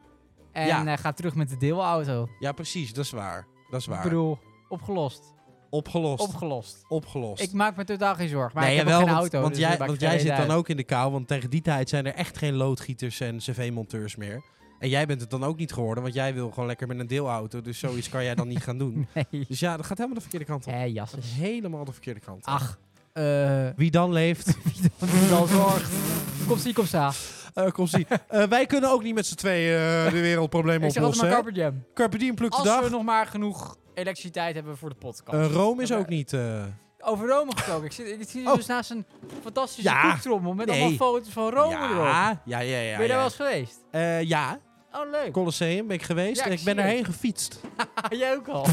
B: En
A: Ja.
B: eh, ga terug met de deelauto.
A: Ja, precies, dat is waar. Dat is
B: Ik
A: waar.
B: bedoel, opgelost.
A: Opgelost.
B: Opgelost.
A: Opgelost.
B: Ik maak me totaal geen zorgen. Maar
A: Nee,
B: ik heb
A: jawel,
B: ook geen
A: want,
B: auto.
A: Want
B: dus
A: jij,
B: dat maakt
A: want
B: geen
A: jij zit
B: reet
A: dan
B: uit.
A: ook in de kou, want tegen die tijd zijn er echt geen loodgieters en cv-monteurs meer. En jij bent het dan ook niet geworden, want jij wil gewoon lekker met een deelauto. Dus zoiets kan jij dan niet gaan
B: <laughs>
A: doen.
B: Nee.
A: Dus ja, dat gaat helemaal de verkeerde kant op.
B: Hé,
A: Dat is
B: jasses.
A: helemaal de verkeerde kant op. <laughs>
B: Ach. Eh
A: Wie dan leeft,
B: wel zorg. Kom zie, kom sta.
A: eh kom
B: <laughs>
A: zie. Eh, wij kunnen ook niet met z'n tweeën eh, de wereldproblemen
B: Ik zeg altijd
A: oplossen.
B: maar
A: hè?
B: Carpe Jam.
A: Carpe diem plukt de
B: Als
A: dag.
B: we nog maar genoeg elektriciteit hebben voor de podcast.
A: Eh, Rome is
B: Maar-
A: ook niet... eh,
B: Over Rome gesproken. Ik zit, ik zit hier
A: Oh.
B: dus naast een fantastische
A: Ja.
B: koektrommel met
A: Nee.
B: allemaal foto's van Rome erop.
A: ja, ja, ja. ja,
B: ben je daar
A: ja.
B: wel eens geweest?
A: Eh, ja,
B: Oh, leuk.
A: Eh, Colosseum ben ik geweest.
B: Ja,
A: en
B: ik
A: ik ben
B: zie het.
A: erheen gefietst.
B: <laughs> Jij ook al.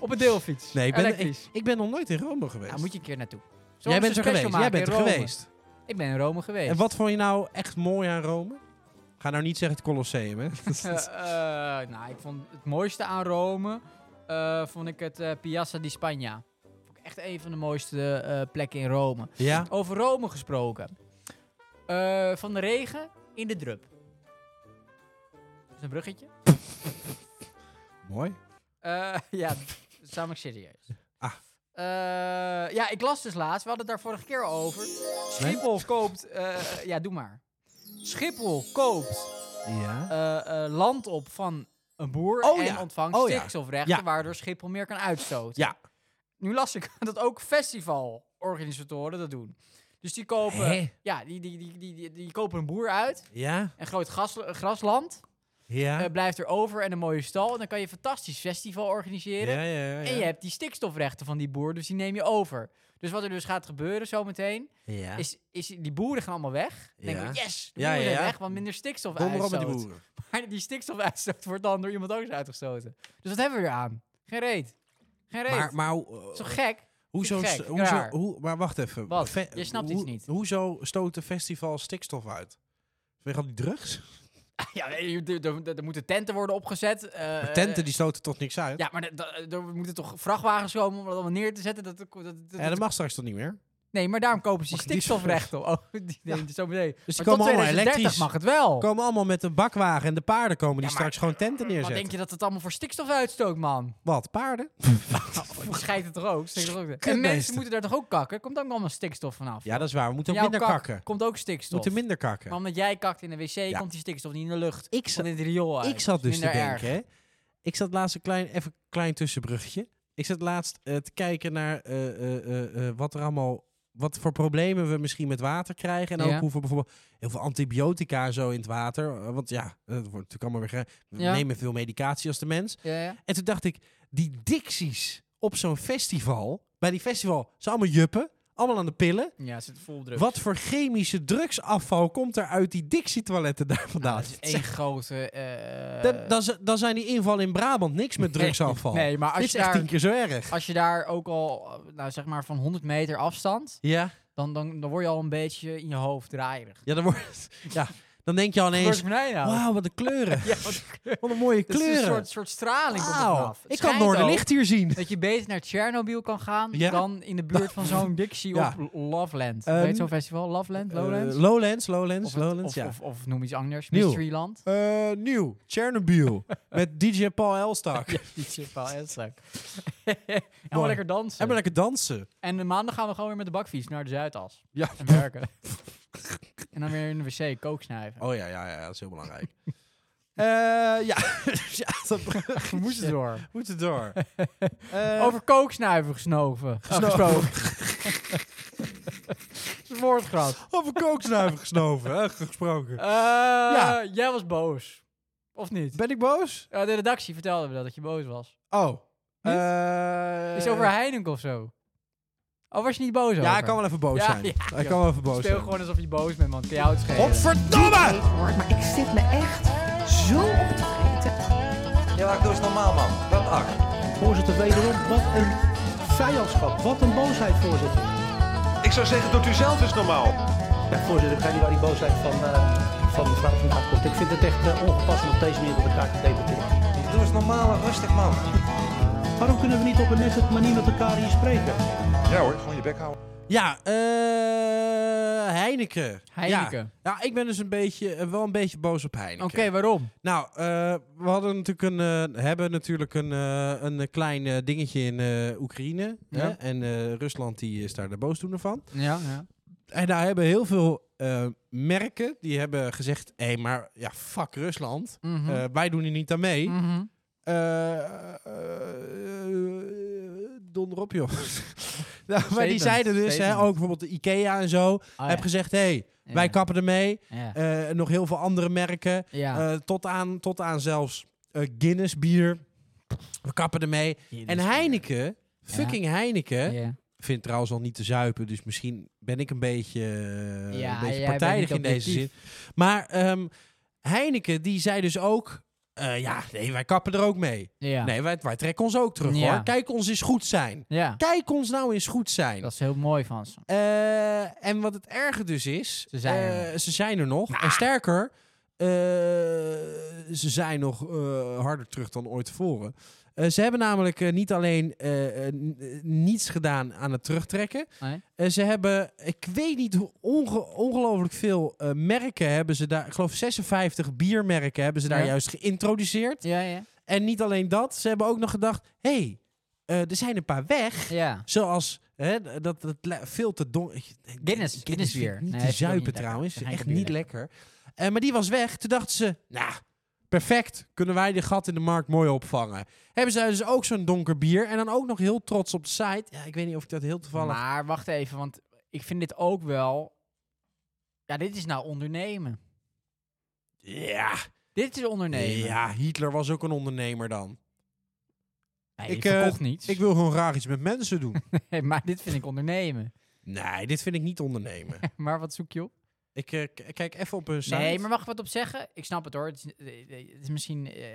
B: Op een deelfiets.
A: Nee, ik ben-
B: Elektrisch.
A: Ik ben nog nooit in Rome geweest.
B: Ja, moet je een keer naartoe. Zullen we
A: Jij
B: eens
A: bent er
B: een special
A: geweest. Jij
B: maken
A: bent
B: in
A: er
B: Rome?
A: geweest.
B: Ik ben in Rome geweest.
A: En wat vond je nou echt mooi aan Rome? Ga nou niet zeggen het Colosseum,
B: <laughs>
A: hè?
B: Eh, eh, nou, ik vond het mooiste aan Rome eh, vond ik het eh, Piazza di Spagna. Vond ik echt een van de mooiste eh, plekken in Rome.
A: ja.
B: Over Rome gesproken. Eh, van de regen in de drup. Dat is een bruggetje.
A: Mooi.
B: Eh,
A: <laughs>
B: ja, samen ik serieus.
A: Ah.
B: Eh, ja, ik las dus laatst. We hadden het daar vorige keer al over. Schiphol koopt... eh, ja, doe maar. Schiphol koopt
A: Ja.
B: eh, eh, land op van een boer
A: Oh
B: en
A: ja.
B: ontvangt
A: Oh ja.
B: stikstofrechten,
A: Ja.
B: waardoor Schiphol meer kan uitstoten.
A: Ja.
B: Nu las ik <laughs> dat ook festivalorganisatoren dat doen. Dus die kopen,
A: Hè?
B: ja, die, die, die, die, die, die kopen een boer uit,
A: Ja.
B: een groot gras, eh, grasland,
A: Ja.
B: eh, blijft er over en een mooie stal. En dan kan je een fantastisch festival organiseren.
A: ja, Oh, ja, ja.
B: En je hebt die stikstofrechten van die boer, dus die neem je over. Dus wat er dus gaat gebeuren zometeen,
A: Ja.
B: is, is die boeren gaan allemaal weg. Dan
A: Ja.
B: denken we, yes, de
A: Ja,
B: boeren
A: ja,
B: zijn
A: ja.
B: weg, want minder stikstof
A: Kom erop met die
B: uitstoot.
A: boeren.
B: Maar die stikstofuitstoot wordt dan door iemand anders uitgestoten. Dus wat hebben we eraan? Geen reet. Geen reet.
A: Maar, maar hoe- eh,
B: Zo
A: <laughs>
B: gek.
A: hoezo...
B: gek,
A: st- hoezo
B: raar.
A: hoe, maar wacht even.
B: Wat?
A: Fe-
B: Je snapt
A: hoe-
B: iets niet.
A: Hoezo stoten festivals stikstof uit? Vanwege al die drugs?
B: Ja, nee, er, er- er- er moeten tenten worden opgezet. eh,
A: Tenten die stoten toch niks uit?
B: Ja, maar er- er- er moeten toch vrachtwagens komen om dat allemaal neer te zetten? Dat, dat, dat- dat-
A: En dat mag straks toch niet meer?
B: nee, maar daarom kopen ze die
A: Mag die
B: stikstofrechten. Oh, <laughs> die, nee, zo meteen.
A: Dus die
B: Maar tot
A: komen allemaal
B: 2030
A: elektrisch.
B: mag het wel.
A: Komen allemaal met een bakwagen en de paarden komen die
B: Ja, maar-
A: straks gewoon tenten
B: Wat
A: neerzetten.
B: denk je dat het allemaal voor stikstof uitstoot, man?
A: Wat? Paarden?
B: Die scheidt het toch ook? Steekt het ook? En mensen
A: Kutbeesten.
B: moeten daar toch ook kakken? Komt ook allemaal stikstof vanaf?
A: Ja, dat is waar. We moeten ook
B: Jouw
A: minder
B: kak
A: kakken.
B: Komt ook
A: We
B: stikstof.
A: moeten minder kakken.
B: Maar omdat jij kakt in de wc,
A: Ja.
B: komt die stikstof niet in de lucht.
A: Ik,
B: Komt
A: zat,
B: in het riool uit.
A: ik zat
B: Dat
A: dus
B: is
A: te
B: minder erg.
A: denken, hè. Ik zat laatst een klein, even een klein tussenbruggetje. Ik zat laatst eh, te kijken naar eh, eh, eh, eh, wat er allemaal... Wat voor problemen we misschien met water krijgen. En ook
B: Ja.
A: hoeveel bijvoorbeeld heel veel antibiotica en zo in het water. Eh, Want ja, eh, dat wordt natuurlijk allemaal weer. ge- We
B: Ja.
A: nemen veel medicatie als de mens.
B: Ja, ja.
A: En toen dacht ik, die dicties op zo'n festival. Bij die festival zijn allemaal juppen. Allemaal aan de pillen.
B: ja, zit vol druk.
A: Wat voor chemische drugsafval komt er uit die Dixie-toiletten daar vandaan?
B: Nou, dat is één grote... eh,
A: Dan- dan z- Dan zijn die invallen in Brabant niks met drugsafval.
B: Nee, maar
A: Dit
B: als
A: is
B: je,
A: echt
B: daar,
A: tien keer zo erg.
B: als je daar ook al, eh, nou, zeg maar, van 100 meter afstand...
A: Ja,
B: Dan, dan, dan word je al een beetje in je hoofd draaierig.
A: ja, dan, wordt, ja. dan denk je al
B: Wat
A: ineens...
B: voor mij nou?
A: Wauw, wat een kleuren.
B: <laughs> Ja, wat kleur.
A: Wat een mooie
B: <laughs> Het is een
A: kleuren.
B: soort, soort straling komt er
A: Wauw,
B: vanaf. Het
A: ik kan
B: schijnt ook
A: Noorderlicht hier zien.
B: Dat je beter naar Tsjernobyl kan gaan
A: Ja.
B: dan in de buurt van zo'n Dixie
A: Ja.
B: op Loveland.
A: Eh,
B: Weet zo'n festival? Loveland?
A: Eh,
B: Ehm, Lowlands?
A: Lowlands, Lowlands,
B: of, het-
A: Lowlands,
B: of,
A: ja.
B: of, of noem iets anders.
A: Nieuw.
B: Mysteryland.
A: Eh, nieuw, Chernobyl, met DJ Paul Elstak.
B: <laughs> Ja, die zit wel <laughs> ernstig. Helemaal
A: Mooi.
B: lekker dansen.
A: En maar lekker dansen.
B: En de maandag gaan we gewoon weer met de bakfiets naar de Zuidas.
A: Ja.
B: En <laughs> werken. en dan weer in de wc kook snuiven. <laughs>
A: Oh ja, ja, ja, dat is heel belangrijk. Eh, ja, <laughs> ja dat,
B: We moesten door.
A: moet het door.
B: <laughs>
A: Eh,
B: Over kooksnuiven Oh, gesnoven.
A: Gesno-
B: Gesproken. <laughs> Dat is een woordgrap.
A: over kooksnuiven gesnoven, hè, gesproken.
B: ja. Eh, Jij was boos. Of niet?
A: Ben ik boos?
B: Ja, Oh, de redactie vertelde me dat, dat je boos was.
A: Oh.
B: Niet?
A: Eh,
B: Is over Heineken of zo? Oh, was je niet boos over?
A: Ja, ik kan wel even boos
B: Ja,
A: zijn.
B: ja,
A: ik
B: joh.
A: kan wel even boos
B: Speel
A: zijn.
B: gewoon alsof je boos bent, man. Kun je houdt schelen.
A: Godverdomme!
C: hoor, maar ik zit me echt zo op te vreten.
D: Ja, maar doe eens normaal, man. Dat acht.
E: Voorzitter, wederom, wat een vijandschap. Wat een boosheid, voorzitter.
D: Ik zou zeggen, doet u zelf eens normaal.
E: Ja, voorzitter, ik ga niet waar die boosheid van, eh, van mevrouw vandaan komt. Ik vind het echt eh, ongepast om op deze manier met elkaar te debatteren.
D: Doe eens normaal en rustig, man.
E: Waarom kunnen we niet op een nette manier met elkaar hier spreken?
D: Ja hoor, gewoon je bek houden.
A: Ja, eh Heineken.
B: Heineken.
A: Ja. ja, ik ben dus een beetje, eh, wel een beetje boos op Heineken.
B: Oké, waarom?
A: Nou, eh, we hadden natuurlijk een, eh, hebben natuurlijk een, eh, een eh, klein eh, dingetje in eh, Oekraïne. Hè?
B: Ja.
A: En eh, Rusland die is daar de boosdoener van.
B: Ja, ja.
A: En daar hebben heel veel eh, merken, die hebben gezegd... Hé, maar ja, fuck Rusland.
B: Mhm.
A: Eh, wij doen hier niet aan mee.
B: Mhm.
A: Eh, eh, eh, donder op, joh. <laughs> nou, maar die
B: Statement,
A: zeiden dus, hè,
B: statement.
A: ook bijvoorbeeld de Ikea en zo...
B: Oh,
A: heb
B: ja.
A: gezegd, hé, hey, wij
B: Ja.
A: kappen ermee.
B: Ja.
A: Eh, nog heel veel andere merken.
B: Ja.
A: Eh, tot, aan, tot aan zelfs eh, Guinness bier. We kappen ermee. en Heineken, fucking Heineken,
B: Ja.
A: vindt trouwens al niet te zuipen. Dus misschien ben ik een beetje, eh,
B: Ja,
A: een beetje
B: jij bent
A: partijdig
B: niet
A: in deze zin.
B: objectief.
A: Maar ehm, Heineken, die zei dus ook... eh, ja, nee, wij kappen er ook mee.
B: Ja.
A: Nee, wij, wij trekken ons ook terug,
B: Ja.
A: hoor. Kijk ons eens goed zijn.
B: ja.
A: Kijk ons nou eens goed zijn.
B: Dat is heel mooi van ze.
A: Eh, en wat het erge dus is,
B: Ze zijn er
A: eh,
B: nog. Nou.
A: ze zijn er nog. En sterker, eh, ze zijn nog eh, harder terug dan ooit tevoren. Eh, ze hebben namelijk eh, niet alleen eh, eh, n- eh, niets gedaan aan het terugtrekken.
B: Nee.
A: Eh, ze hebben, ik weet niet hoe onge- ongelooflijk veel eh, merken hebben ze daar. Ik geloof 56 biermerken hebben ze daar
B: Ja.
A: juist geïntroduceerd.
B: Ja, ja.
A: En niet alleen dat, ze hebben ook nog gedacht: hé, hey, eh, er zijn een paar weg.
B: Ja.
A: Zoals hè, d- dat, dat le- veel te donker.
B: Guinness, Guinness
A: vind ik
B: weer.
A: Niet
B: Nee,
A: te
B: vind ik ook
A: zuipen
B: niet lekker.
A: trouwens.
B: Vind ik
A: Echt
B: ook niet
A: niet lekker. Eh, maar die was weg. Toen dachten ze, nou, perfect. Kunnen wij de gat in de markt mooi opvangen. Hebben ze dus ook zo'n donker bier. En dan ook nog heel trots op de site. Ja, ik weet niet of ik dat heel toevallig...
B: Maar wacht even, want ik vind dit ook wel... Ja, dit is nou ondernemen.
A: ja,
B: Dit is ondernemen.
A: ja, Hitler was ook een ondernemer dan.
B: Nee,
A: Ik,
B: ik
A: eh,
B: verkocht niets.
A: Ik wil gewoon graag iets met mensen doen.
B: <laughs> Nee, maar dit vind ik ondernemen.
A: nee, dit vind ik niet ondernemen.
B: <laughs> maar wat zoek je op?
A: ik eh, k- kijk even op een site.
B: Nee, maar mag ik wat op zeggen? Ik snap het hoor. Het is, eh, het is misschien... eh,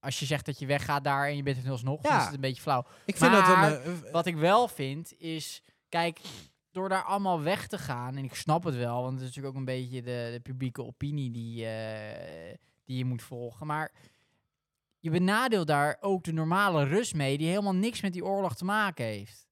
B: als je zegt dat je weggaat daar en je bent er alsnog, dan
A: Ja.
B: is het een beetje flauw.
A: ik vind dat
B: maar
A: een... eh, eh,
B: Wat ik wel vind is, kijk, door daar allemaal weg te gaan, en ik snap het wel, want het is natuurlijk ook een beetje de, de publieke opinie die, eh, die je moet volgen. Maar je benadeelt daar ook de normale Rus mee, die helemaal niks met die oorlog te maken heeft.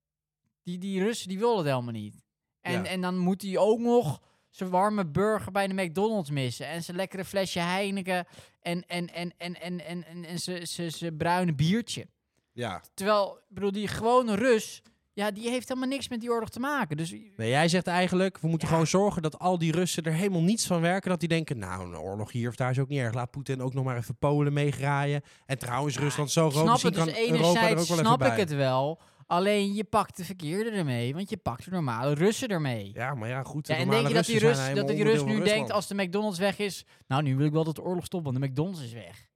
B: Die, die Russen die willen het helemaal niet. En,
A: Ja.
B: en dan moet hij ook nog zijn warme burger bij de McDonald's missen. En zijn lekkere flesje Heineken. En, en, en, en, en, en, en, en zijn- zijn zijn bruine biertje.
A: ja.
B: Terwijl, ik bedoel, die gewone Rus, ja, die heeft helemaal niks met die oorlog te maken. Dus
A: Nee, jij zegt eigenlijk, we moeten gewoon zorgen dat al die Russen er helemaal niets van werken. Dat die denken, nou, een oorlog hier of daar is ook niet erg. Laat Poetin ook nog maar even Polen meegraaien. En trouwens, Rusland is zo
B: ik
A: groot,
B: snap
A: misschien
B: het.
A: kan
B: Dus
A: Europa er ook
B: enerzijds
A: wel
B: snap
A: even
B: ik
A: bij.
B: het wel. Alleen je pakt de verkeerde ermee, want je pakt de normale Russen ermee. Ja,
A: Ja, maar ja, goed. de
B: en denk
A: normale
B: je dat die
A: Russen
B: Rus,
A: zijn
B: dat die
A: helemaal
B: Rus nu
A: onderdeel van
B: denkt
A: Rusland.
B: als de McDonald's weg is, nou nu wil ik wel dat de oorlog stopt, want de McDonald's is weg.
A: Ja,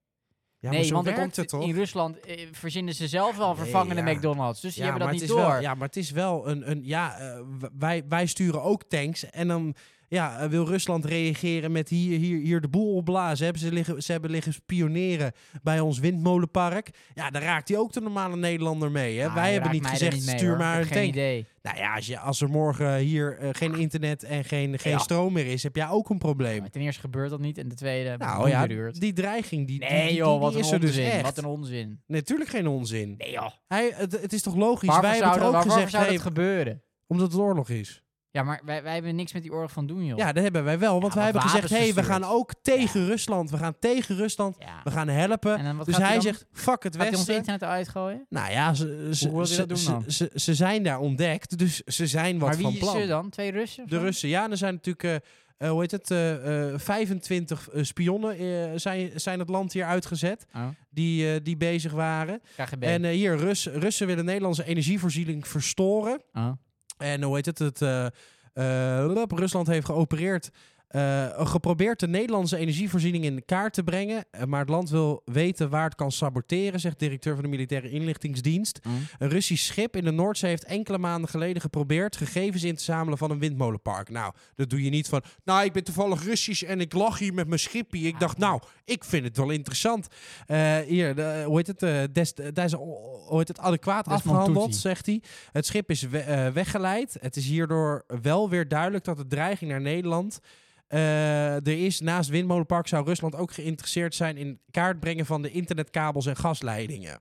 A: maar
B: nee,
A: zo
B: want er
A: werkt
B: komt
A: het toch?
B: in Rusland eh, verzinnen ze zelf wel
A: Nee,
B: vervangende
A: ja.
B: McDonald's, dus die
A: ja,
B: hebben
A: maar
B: dat
A: het
B: niet
A: is
B: door.
A: Wel, ja, maar het is wel een... een ja, eh, w- wij, wij sturen ook tanks en dan... Ja, eh, wil Rusland reageren met hier, hier, hier de boel opblazen? Hebben ze, liggen, ze hebben liggen spioneren bij ons windmolenpark. Ja, daar raakt hij ook de normale Nederlander mee. Hè?
B: Ah,
A: Wij
B: je
A: hebben
B: raakt
A: niet
B: mij er
A: gezegd,
B: mee,
A: stuur
B: hoor.
A: maar
B: Ik
A: een
B: heb geen
A: tank.
B: idee.
A: Nou ja, als, je, als er morgen hier eh, geen internet en geen, geen
B: Ja.
A: stroom meer is, heb jij ook een probleem.
B: Maar ten eerste gebeurt dat niet en ten tweede
A: nou
B: boeien
A: ja,
B: duurt.
A: die dreiging, die, die- die,
B: Nee
A: die-
B: joh,
A: die
B: wat een
A: is er
B: onzin.
A: dus echt.
B: wat een onzin.
A: Natuurlijk geen onzin.
B: Nee joh.
A: Hij, het, het is toch logisch?
B: Waarvoor
A: wij hebben
B: zou,
A: het
B: dat,
A: ook
B: waarvoor
A: gezegd,
B: zou
A: hey,
B: dat gebeuren?
A: omdat het oorlog is.
B: Ja, maar wij, wij hebben niks met die oorlog van doen, joh.
A: Ja, dat hebben wij wel. Want
B: Ja,
A: wij hebben
B: want
A: gezegd,
B: wapens
A: hey, we
B: gestuurd.
A: gaan ook tegen Rusland. We gaan tegen Rusland.
B: Ja.
A: We gaan helpen.
B: En dan wat
A: Dus
B: gaat
A: hij
B: dan?
A: zegt, fuck het
B: Gaat hij ons
A: Westen.
B: internet eruit gooien?
A: Nou ja, ze, ze,
B: wil hij
A: ze,
B: dat doen
A: ze-
B: dan?
A: ze- ze zijn daar ontdekt. Dus ze zijn wat
B: maar wie
A: van
B: is
A: plan.
B: ze dan? Twee Russen? of
A: De
B: zo?
A: Russen, ja, en er zijn natuurlijk eh, hoe heet het, eh, eh, 25 eh, spionnen eh, zijn, zijn het land hier uitgezet
B: Oh,
A: die, eh, die bezig waren.
B: KGB.
A: En eh, hier, Rus, Russen willen Nederlandse energievoorziening verstoren.
B: Oh.
A: En hoe heet het? het eh, eh, lup, Rusland heeft geopereerd. eh, geprobeerd de Nederlandse energievoorziening in kaart te brengen. eh, Maar het land wil weten waar het kan saboteren, zegt directeur van de Militaire Inlichtingsdienst.
B: Mm.
A: Een Russisch schip in de Noordzee heeft enkele maanden geleden geprobeerd gegevens in te zamelen van een windmolenpark. Nou, dat doe je niet van. Nou, ik ben toevallig Russisch en ik lag hier met mijn schipje. Ik dacht, nou, ik vind het wel interessant. Eh, hier, de- hoe heet het? eh, des, daar is oh, hoe heet het adequaat
B: Desmond
A: afgehandeld,
B: Tutu.
A: zegt hij. Het schip is we- eh, weggeleid. Het is hierdoor wel weer duidelijk dat de dreiging naar Nederland. eh, er is naast windmolenpark zou Rusland ook geïnteresseerd zijn in kaart brengen van de internetkabels en gasleidingen.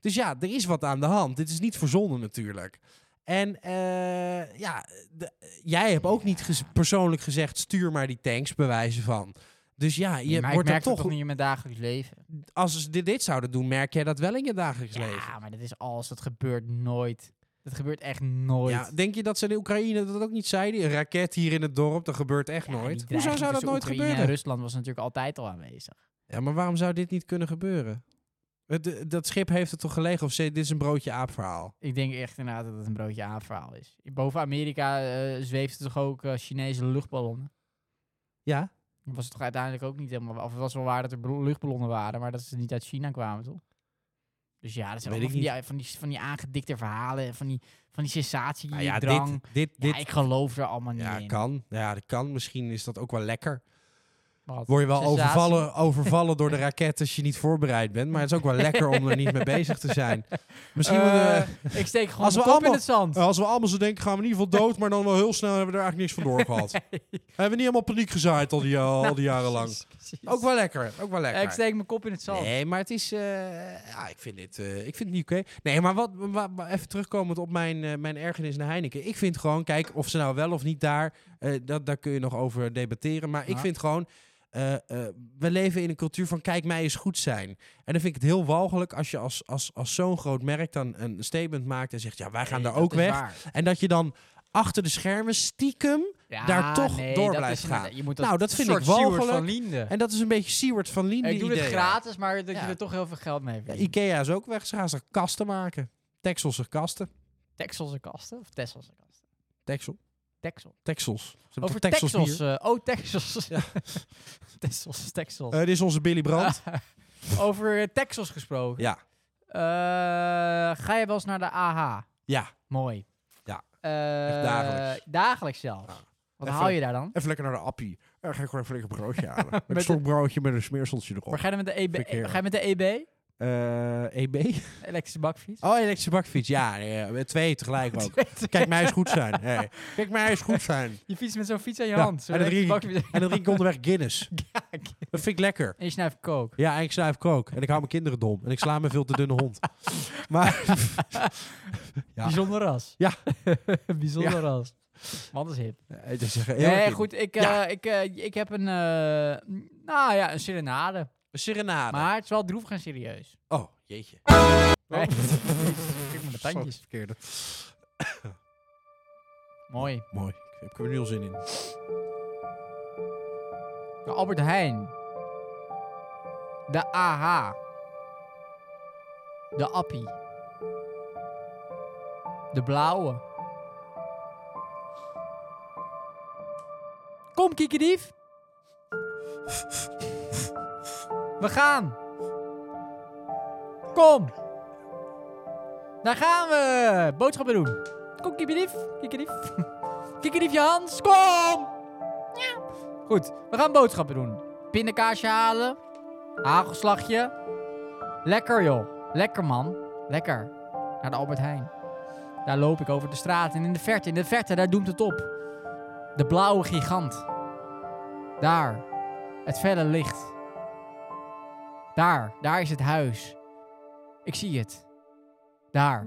A: Dus ja, er is wat aan de hand. Dit is niet verzonnen natuurlijk. En eh, ja, de- jij hebt ook niet ges- persoonlijk gezegd: stuur maar die tanks, bewijzen van. Dus ja, je
B: maar ik
A: wordt er
B: merk dat
A: toch.
B: toch niet in mijn dagelijks leven.
A: Als ze dit, dit zouden doen, merk jij dat wel in je dagelijks leven.
B: Ja, maar dat is alles. Dat gebeurt nooit. Dat gebeurt echt nooit.
A: Ja, denk je dat ze in Oekraïne dat ook niet zeiden? Een raket hier in het dorp, dat gebeurt echt
B: Ja, die
A: nooit.
B: dreiging
A: Hoezo zou dat
B: tussen
A: nooit
B: Oekraïne en
A: gebeuren?
B: Rusland was natuurlijk altijd al aanwezig.
A: Ja, maar waarom zou dit niet kunnen gebeuren? Het- de- dat schip heeft het toch gelegen? Of ze- dit is een broodje aap verhaal?
B: Ik denk echt inderdaad dat het een broodje aanverhaal is. Boven Amerika eh, zweefden toch ook eh, Chinese luchtballonnen?
A: Ja.
B: Dat was het toch uiteindelijk ook niet helemaal... Of het was wel waar dat er blo- luchtballonnen waren, maar dat ze niet uit China kwamen, toch? Dus ja, dat zijn
A: Weet
B: allemaal van
A: ik
B: die, van, die, van die aangedikte verhalen en van die, van die sensatie,
A: Nou
B: die
A: ja,
B: drang.
A: dit, dit,
B: ja,
A: dit,
B: ik geloof er allemaal niet
A: Ja,
B: in.
A: kan. Ja, dat kan. Misschien is dat ook wel lekker.
B: Wat?
A: Word je wel
B: Sensatie? <laughs>
A: overvallen, overvallen door de raket als je niet voorbereid bent. Maar het is ook wel lekker om er niet mee bezig te
B: <laughs>
A: zijn. Misschien moeten we-
B: Eh, ik steek gewoon
A: Als
B: mijn
A: we
B: kop
A: allemaal-
B: in
A: Oh,
B: het zand.
A: als we allemaal zo denken, gaan we in ieder geval dood. Maar dan wel heel snel hebben we er eigenlijk niks van door
B: <laughs>
A: gehad. Hebben we niet helemaal paniek gezaaid al die, al die jaren lang.
B: Precies, precies.
A: Ook wel lekker. Ook wel lekker.
B: Eh, ik steek mijn kop in het zand.
A: Nee, maar het is. eh, ja, ik vind dit. eh, ik vind het niet oké. Nee, maar wat, wa- wa- even terugkomend op mijn, eh, mijn ergernis naar Heineken. Ik vind gewoon, kijk, of ze nou wel of niet daar. eh, dat, daar kun je nog over debatteren. Maar ik
B: Ja.
A: vind gewoon. eh, eh, we leven in een cultuur van kijk mij eens goed zijn. En dan vind ik het heel walgelijk als je als, als, als zo'n groot merk dan een statement maakt en zegt ja, wij gaan
B: Nee,
A: daar ook
B: dat is
A: weg.
B: waar.
A: En dat je dan achter de schermen stiekem
B: Ja,
A: daar toch
B: nee,
A: door
B: dat
A: blijft
B: is
A: gaan.
B: inderdaad- je moet
A: Nou, dat
B: een
A: vind ik
B: soort Seward
A: walgelijk.
B: van Liende.
A: En dat is een beetje Seward van Lien.
B: ik
A: die
B: doe het
A: ideeën.
B: gratis, maar dat
A: Ja.
B: je er toch heel veel geld mee
A: Ja,
B: verdient.
A: Ikea is ook weg. Ze gaan ze kasten maken. Texelse kasten.
B: Texelse kasten of Tesselse kasten?
A: Texel.
B: Texel.
A: Texels. Ze hebben
B: Over
A: toch
B: Texels.
A: Texels bier?
B: eh, oh,
A: <laughs>
B: Texels. <laughs> Texels, Texels.
A: Eh, dit is onze Billy Brandt.
B: Over eh, Texels gesproken.
A: Ja.
B: Eh, ga je wel eens naar de AH?
A: <laughs> Ja.
B: Mooi.
A: Ja.
B: Eh,
A: Echt dagelijks.
B: Dagelijks zelfs.
A: Ja.
B: Wat
A: Even- Oh.
B: haal je daar dan?
A: Even lekker naar de appie. Er ga ik gewoon even lekker een broodje <laughs> halen. Met
B: Met
A: een
B: de-
A: stokbroodje met een smeerseltje erop.
B: Maar ga je dan met de EB?
A: Vind ik heerlijk.
B: Ga je met de EB?
A: Eh, EB?
B: Elektrische bakfiets? <laughs>
A: Oh, elektrische bakfiets. Ja, nee, eh, twee tegelijk ook. Kijk, mij eens goed zijn. Hey. Kijk, mij eens goed zijn.
B: Je fietst met zo'n fiets aan je
A: Ja,
B: hand. Zo'n
A: en dan
B: elektrische
A: drink
B: bakfiets.
A: En dan drink ik onderweg Guinness.
B: Ja, ik-
A: Dat vind ik lekker.
B: en je snuift kook.
A: Ja, en ik snuif kook. En ik hou mijn kinderen dom. En ik sla mijn veel te dunne hond. Maar Ja.
B: Bijzonder ras.
A: <laughs> Ja.
B: <laughs> Bijzonder ras. Man is hip.
A: <laughs> Eh, het is echt heel
B: Nee,
A: erg
B: goed. Ik, eh,
A: Ja.
B: ik, eh, ik heb een, eh, m, nou ja, een serenade.
A: Een serenade.
B: Maar het is wel droevig en serieus.
A: Oh, jeetje. <laughs>
B: Nee.
A: Oh.
B: Kijk maar de tandjes.
A: Zo, Verkeerde.
B: Mooi.
A: Mooi. Ik heb er nu al zin in.
B: De Albert Heijn. De AH. De Appie. De Blauwe. Kom, kiekendief. We gaan. Kom. Daar gaan we. Boodschappen doen. Kom, kiekendief. Kiekendief. Kiekendiefje Hans, kom. Goed, we gaan boodschappen doen. Pindakaasje halen. Hagelslagje. Lekker joh. Lekker man. Lekker. Naar de Albert Heijn. Daar loop ik over de straat. En in de verte, in de verte, daar doemt het op. De blauwe gigant. Daar. Het felle licht. Daar. Daar is het huis. Ik zie het. Daar.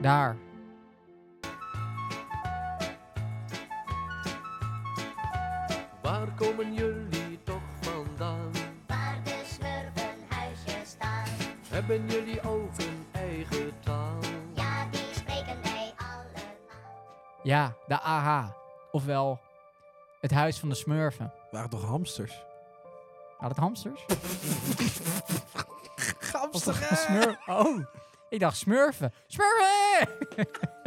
B: Daar.
F: Waar komen jullie toch vandaan?
C: Waar de smurfenhuisjes staan,
F: Hebben jullie ook een eigen taal?
C: ja, die spreken wij allemaal.
B: Ja, de AH. ofwel het huis van de smurfen.
A: waren toch hamsters?
B: Had het hamsters?
A: Hamsters!
B: Smur oh, ik dacht smurfen. Smurfen!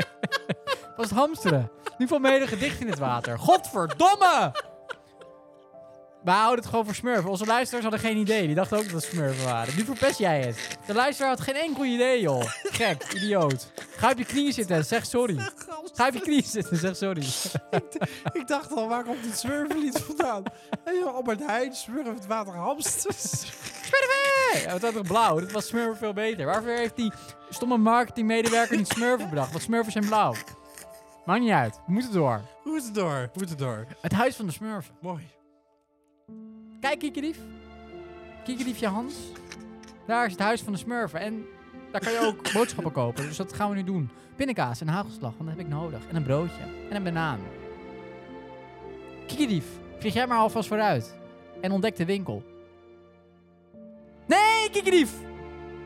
B: <laughs> was het hamsteren. Nu valt mijn hele gedicht in het water. Godverdomme! We houden het gewoon voor smurfen. Onze luisteraars hadden geen idee. Die dachten ook dat het smurfen waren. Nu verpest jij het. De luisteraar had geen enkel idee, joh. Gek, idioot. Ga op je knieën zitten en zeg sorry. Ga op je knieën zitten en zeg sorry.
A: Ik dacht al, waar komt dit smurfenlied vandaan? Hey, joh, Albert Heijn, smurft water hamsters.
B: Smurfen! Ja, het was toch blauw? Dit was smurfen veel beter. Waarvoor heeft die stomme marketingmedewerker niet smurfen bedacht? Want smurfen zijn blauw. Maakt niet uit. We moeten door.
A: Hoe is het door? Hoe is het door?
B: Het huis van de smurfen.
A: Mooi.
B: Kijk, Kikerief. Kikeriefje Hans. Daar is het huis van de smurfen. En daar kan je ook boodschappen kopen. Dus dat gaan we nu doen. Pindakaas en hagelslag, want dat heb ik nodig. En een broodje. En een banaan. Kikerief, vlieg jij maar alvast vooruit. En ontdek de winkel. Nee, Kikerief!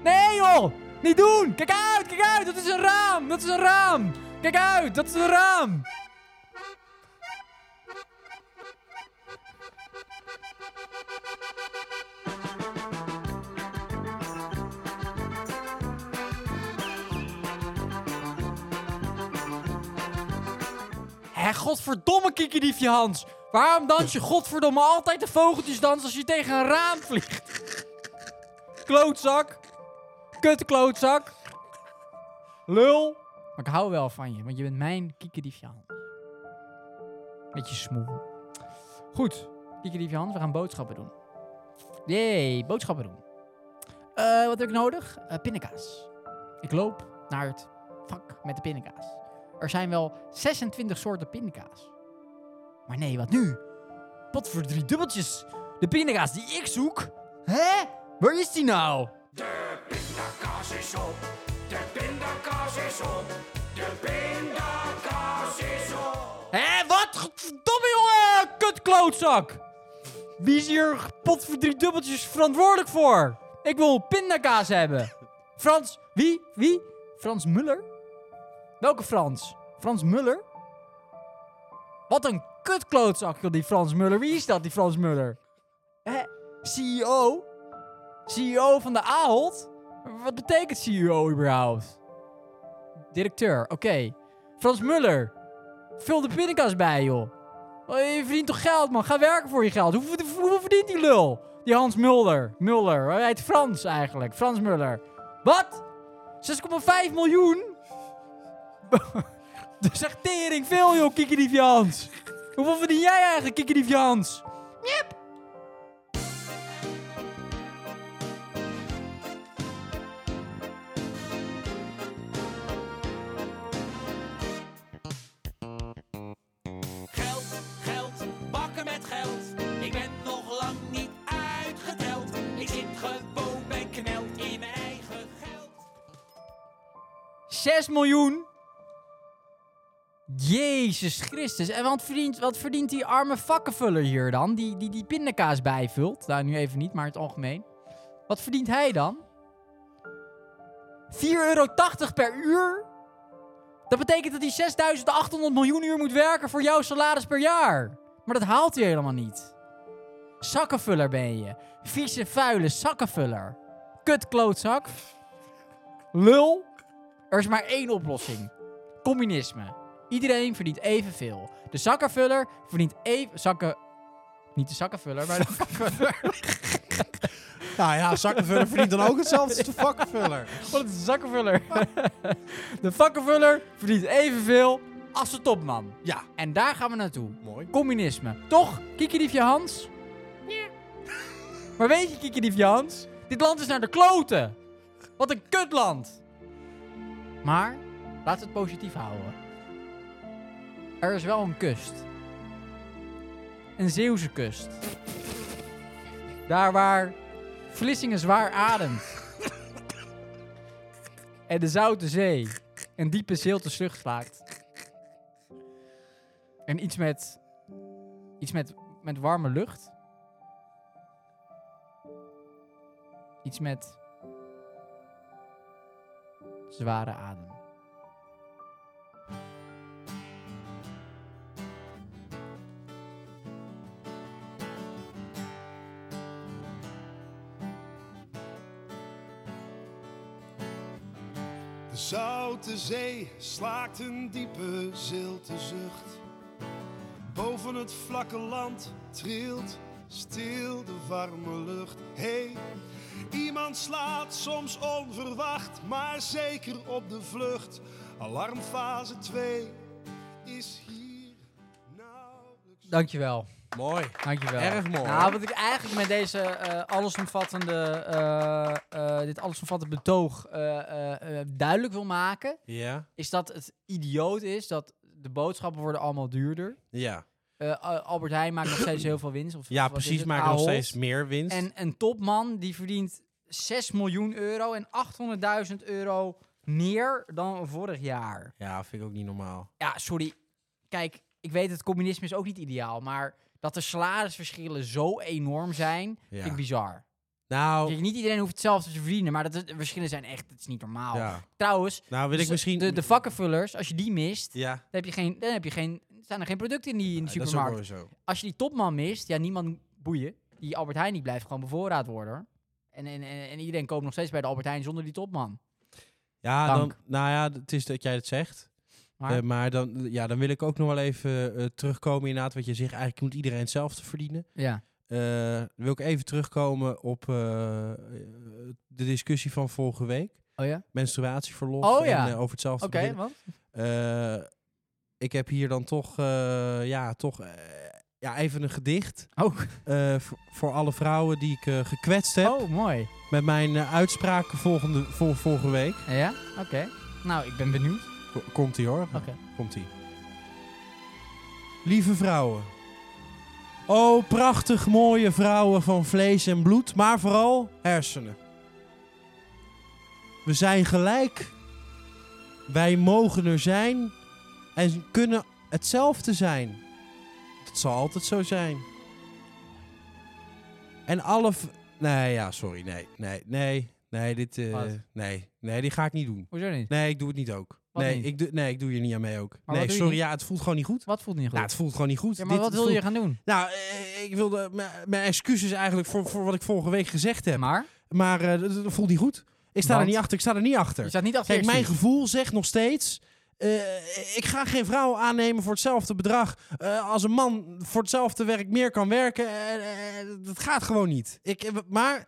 B: Nee, joh! Niet doen! Kijk uit, kijk uit! Dat is een raam! Dat is een raam! Kijk uit, dat is een raam! Hé, godverdomme kikkerdiefje Hans. Waarom dans je godverdomme altijd de vogeltjesdans als je tegen een raam vliegt? Klootzak. Kutte klootzak. Lul. Maar ik hou wel van je, want je bent mijn kikkerdiefje Hans. Beetje smoel. Goed, kikkerdiefje Hans, we gaan boodschappen doen. Jee, boodschappen doen. Eh, wat heb ik nodig? Eh pindakaas. Ik loop naar het vak met de pindakaas. Er zijn wel 26 soorten pindakaas. Maar nee, wat nu? Pot voor drie dubbeltjes. De pindakaas die ik zoek? Hè? Waar is die nou? De pindakaas is op. De pindakaas is op. De pindakaas is op. Hé, wat? Godverdomme jongen, kutklootzak. Wie is hier pot voor drie dubbeltjes verantwoordelijk voor? Ik wil pindakaas hebben. Frans, wie? Wie? Frans Muller? Welke Frans? Frans Muller? Wat een kutklootzak, joh, die Frans Muller. Wie is dat, die Frans Muller? Hè? E CEO? CEO E van de Ahold? Wat betekent CEO überhaupt? Directeur, oké. Frans Muller, vul de pindakaas bij, joh. Oh, je verdient toch geld, man? Ga werken voor je geld. Hoeveel, hoeveel verdient die lul? Die Hans Muller. Muller. Hij heet Frans eigenlijk. Frans Muller. Wat? 6,5 miljoen? De <laughs> zeg tering veel, joh, Kikkerdief Jans. Hoeveel verdien jij eigenlijk, Kikkerdief Jans?
G: Geld, geld, bakken met geld. Ik ben nog lang niet uitgeteld. Ik zit gewoon bekneld in mijn eigen geld.
B: 6 miljoen. Jezus Christus. En wat verdient, wat verdient die arme vakkenvuller hier dan? Die, die die pindakaas bijvult. Nou, nu even niet, maar in het algemeen. Wat verdient hij dan? 4,80 euro per uur? Dat betekent dat hij 6800 miljoen uur moet werken voor jouw salaris per jaar. Maar dat haalt hij helemaal niet. Zakkenvuller ben je. Vieze, vuile zakkenvuller. Kut klootzak. Lul. Er is maar één oplossing. Communisme. Iedereen verdient evenveel. De zakkenvuller verdient even... Zakken... Niet de zakkenvuller, maar de <laughs> vakkenvuller.
A: Nou ja, zakkenvuller verdient dan ook hetzelfde als de vakkenvuller.
B: Wat is de zakkenvuller? <laughs> de vakkenvuller verdient evenveel als de topman.
A: Ja,
B: En daar gaan we naartoe.
A: mooi.
B: Communisme. Toch, kikkerdiefje Hans? <laughs> Maar weet je, kikkerdiefje Hans? Dit land is naar de kloten. Wat een kutland. Maar, laten we het positief houden. Er is wel een kust. Een Zeeuwse kust. Daar waar Vlissingen zwaar ademt. En de Zoute Zee een diepe zilte zucht slaakt. En iets met Iets met, met warme lucht. Iets met zware adem.
H: Zoute zee slaakt een diepe zilte zucht. Boven het vlakke land trilt stil de warme lucht. Hey, iemand slaat soms onverwacht, maar zeker op de vlucht. Alarmfase 2 is hier nou nauwelijks.
B: Dankjewel.
A: Mooi.
B: Dankjewel.
A: Erg mooi,
B: Nou,
A: hoor.
B: wat ik eigenlijk met deze eh, allesomvattende, eh, eh, dit allesomvattende betoog eh, eh, eh, duidelijk wil maken,
A: Ja.
B: is dat het idioot is dat de boodschappen worden allemaal duurder.
A: Ja,
B: Eh, A- Albert Heijn maakt nog steeds heel veel winst. Of,
A: ja
B: of wat is
A: precies.
B: het,
A: Maakt nog
B: Ahold.
A: steeds meer winst.
B: En een topman die verdient 6 miljoen euro en 800.000 euro meer dan vorig jaar.
A: Ja, vind ik ook niet normaal.
B: Ja, sorry. Kijk, ik weet het communisme is ook niet ideaal, maar dat de salarisverschillen zo enorm zijn, vind
A: Ja.
B: ik bizar.
A: Nou,
B: Kijk, niet iedereen hoeft hetzelfde te verdienen, maar dat is- de verschillen zijn echt, het is niet normaal.
A: ja.
B: Trouwens,
A: nou wil ik
B: dus
A: misschien...
B: de, de vakkenvullers, als je die mist,
A: Ja,
B: dan heb je geen, dan heb je geen, staan er geen producten in die, in de
A: dat is ook
B: supermarkt.
A: wel zo.
B: Als je die topman mist, ja, niemand boeien. Die Albert Heijn die blijft gewoon bevoorraad worden. hoor. En, en, en, en iedereen koopt nog steeds bij de Albert Heijn zonder die topman.
A: Ja, dan,
B: Dank.
A: nou ja, d- het is dat jij het zegt.
B: Maar-
A: Maar, maar dan, ja, dan wil ik ook nog wel even eh, terugkomen inderdaad wat je zegt. Eigenlijk moet iedereen hetzelfde verdienen.
B: Ja.
A: Eh, dan wil ik even terugkomen op eh, eh, de discussie van vorige week.
B: Oh ja?
A: Menstruatieverlof
B: Oh ja.
A: en eh, over hetzelfde
B: Oké,
A: beginnen.
B: want?
A: Eh, ik heb hier dan toch, eh, ja, toch eh, ja, even een gedicht
B: <laughs> Oh,
A: eh, v- voor alle vrouwen die ik eh, gekwetst heb
B: oh mooi.
A: met mijn eh, uitspraken volgende, vol, vorige week.
B: Ja? Oké. Nou, ik ben benieuwd.
A: Ko- Komt-ie hoor.
B: Oké.
A: Komt-ie. Lieve vrouwen. O, prachtig mooie vrouwen van vlees en bloed, maar vooral hersenen. We zijn gelijk. Wij mogen er zijn en kunnen hetzelfde zijn. Dat zal altijd zo zijn. En alle... v- Nee, ja, sorry. Nee, nee, nee. Nee, dit, eh,
B: Wat?
A: nee, nee, die ga ik niet doen.
B: Hoezo niet?
A: Nee, ik doe het niet ook.
B: Wat
A: Nee
B: niet?
A: ik, doe, nee, ik doe hier niet aan mee ook. nee,
B: wat doe je
A: sorry,
B: niet?
A: ja, het voelt gewoon niet goed.
B: Wat voelt niet goed?
A: Nou, het voelt gewoon niet goed.
B: ja, maar
A: Dit
B: wat wil
A: voelt-
B: je gaan doen?
A: Nou, eh, ik wilde m- mijn excuses eigenlijk voor, voor wat ik vorige week gezegd heb.
B: Maar?
A: Maar eh, dat dat voelt niet goed. Ik sta er
B: Want?
A: niet achter, ik sta er niet achter.
B: Je staat niet achter
A: Kijk,
B: je
A: mijn
B: excuus.
A: gevoel zegt nog steeds... eh, ik ga geen vrouw aannemen voor hetzelfde bedrag... eh, als een man voor hetzelfde werk meer kan werken. Eh, eh, dat gaat gewoon niet. Ik, eh, maar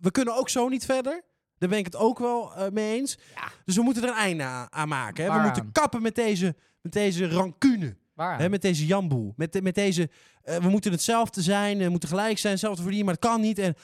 A: we kunnen ook zo niet verder. Daar ben ik het ook wel eh, mee eens. Dus we moeten er een einde aan, aan maken. Hè? We
B: Waaraan?
A: moeten kappen met deze, met deze rancune.
B: Waar?
A: Hè? Met deze jamboel. Met, de- met deze... eh, we moeten hetzelfde zijn. eh, We moeten gelijk zijn. Hetzelfde verdienen. Maar dat kan niet. En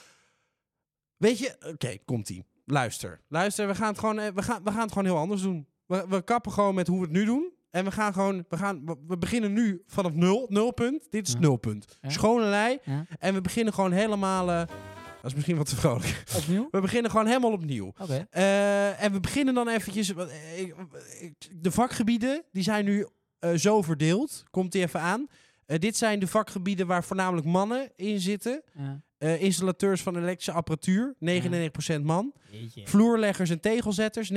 A: Weet je, oké, komt-ie. Luister. Luister, we gaan het gewoon, eh, we gaan, we gaan het gewoon heel anders doen. We, we kappen gewoon met hoe we het nu doen. En we gaan gewoon, we, gaan, we- we beginnen nu vanaf nul, nulpunt. Dit is
B: Ja.
A: nulpunt.
B: Ja.
A: Schone lei.
B: Ja.
A: En we beginnen gewoon helemaal, eh, dat is misschien wat te vrolijk. <laughs>
B: Opnieuw?
A: We beginnen gewoon helemaal opnieuw.
B: Oké.
A: Eh, en we beginnen dan eventjes, want, eh, ik- ik- de vakgebieden, die zijn nu eh, zo verdeeld. Komt die even aan. Eh, dit zijn de vakgebieden waar voornamelijk mannen in zitten.
B: Ja.
A: Eh, installateurs van elektrische apparatuur, 99% man.
B: Jeetje.
A: Vloerleggers en tegelzetters,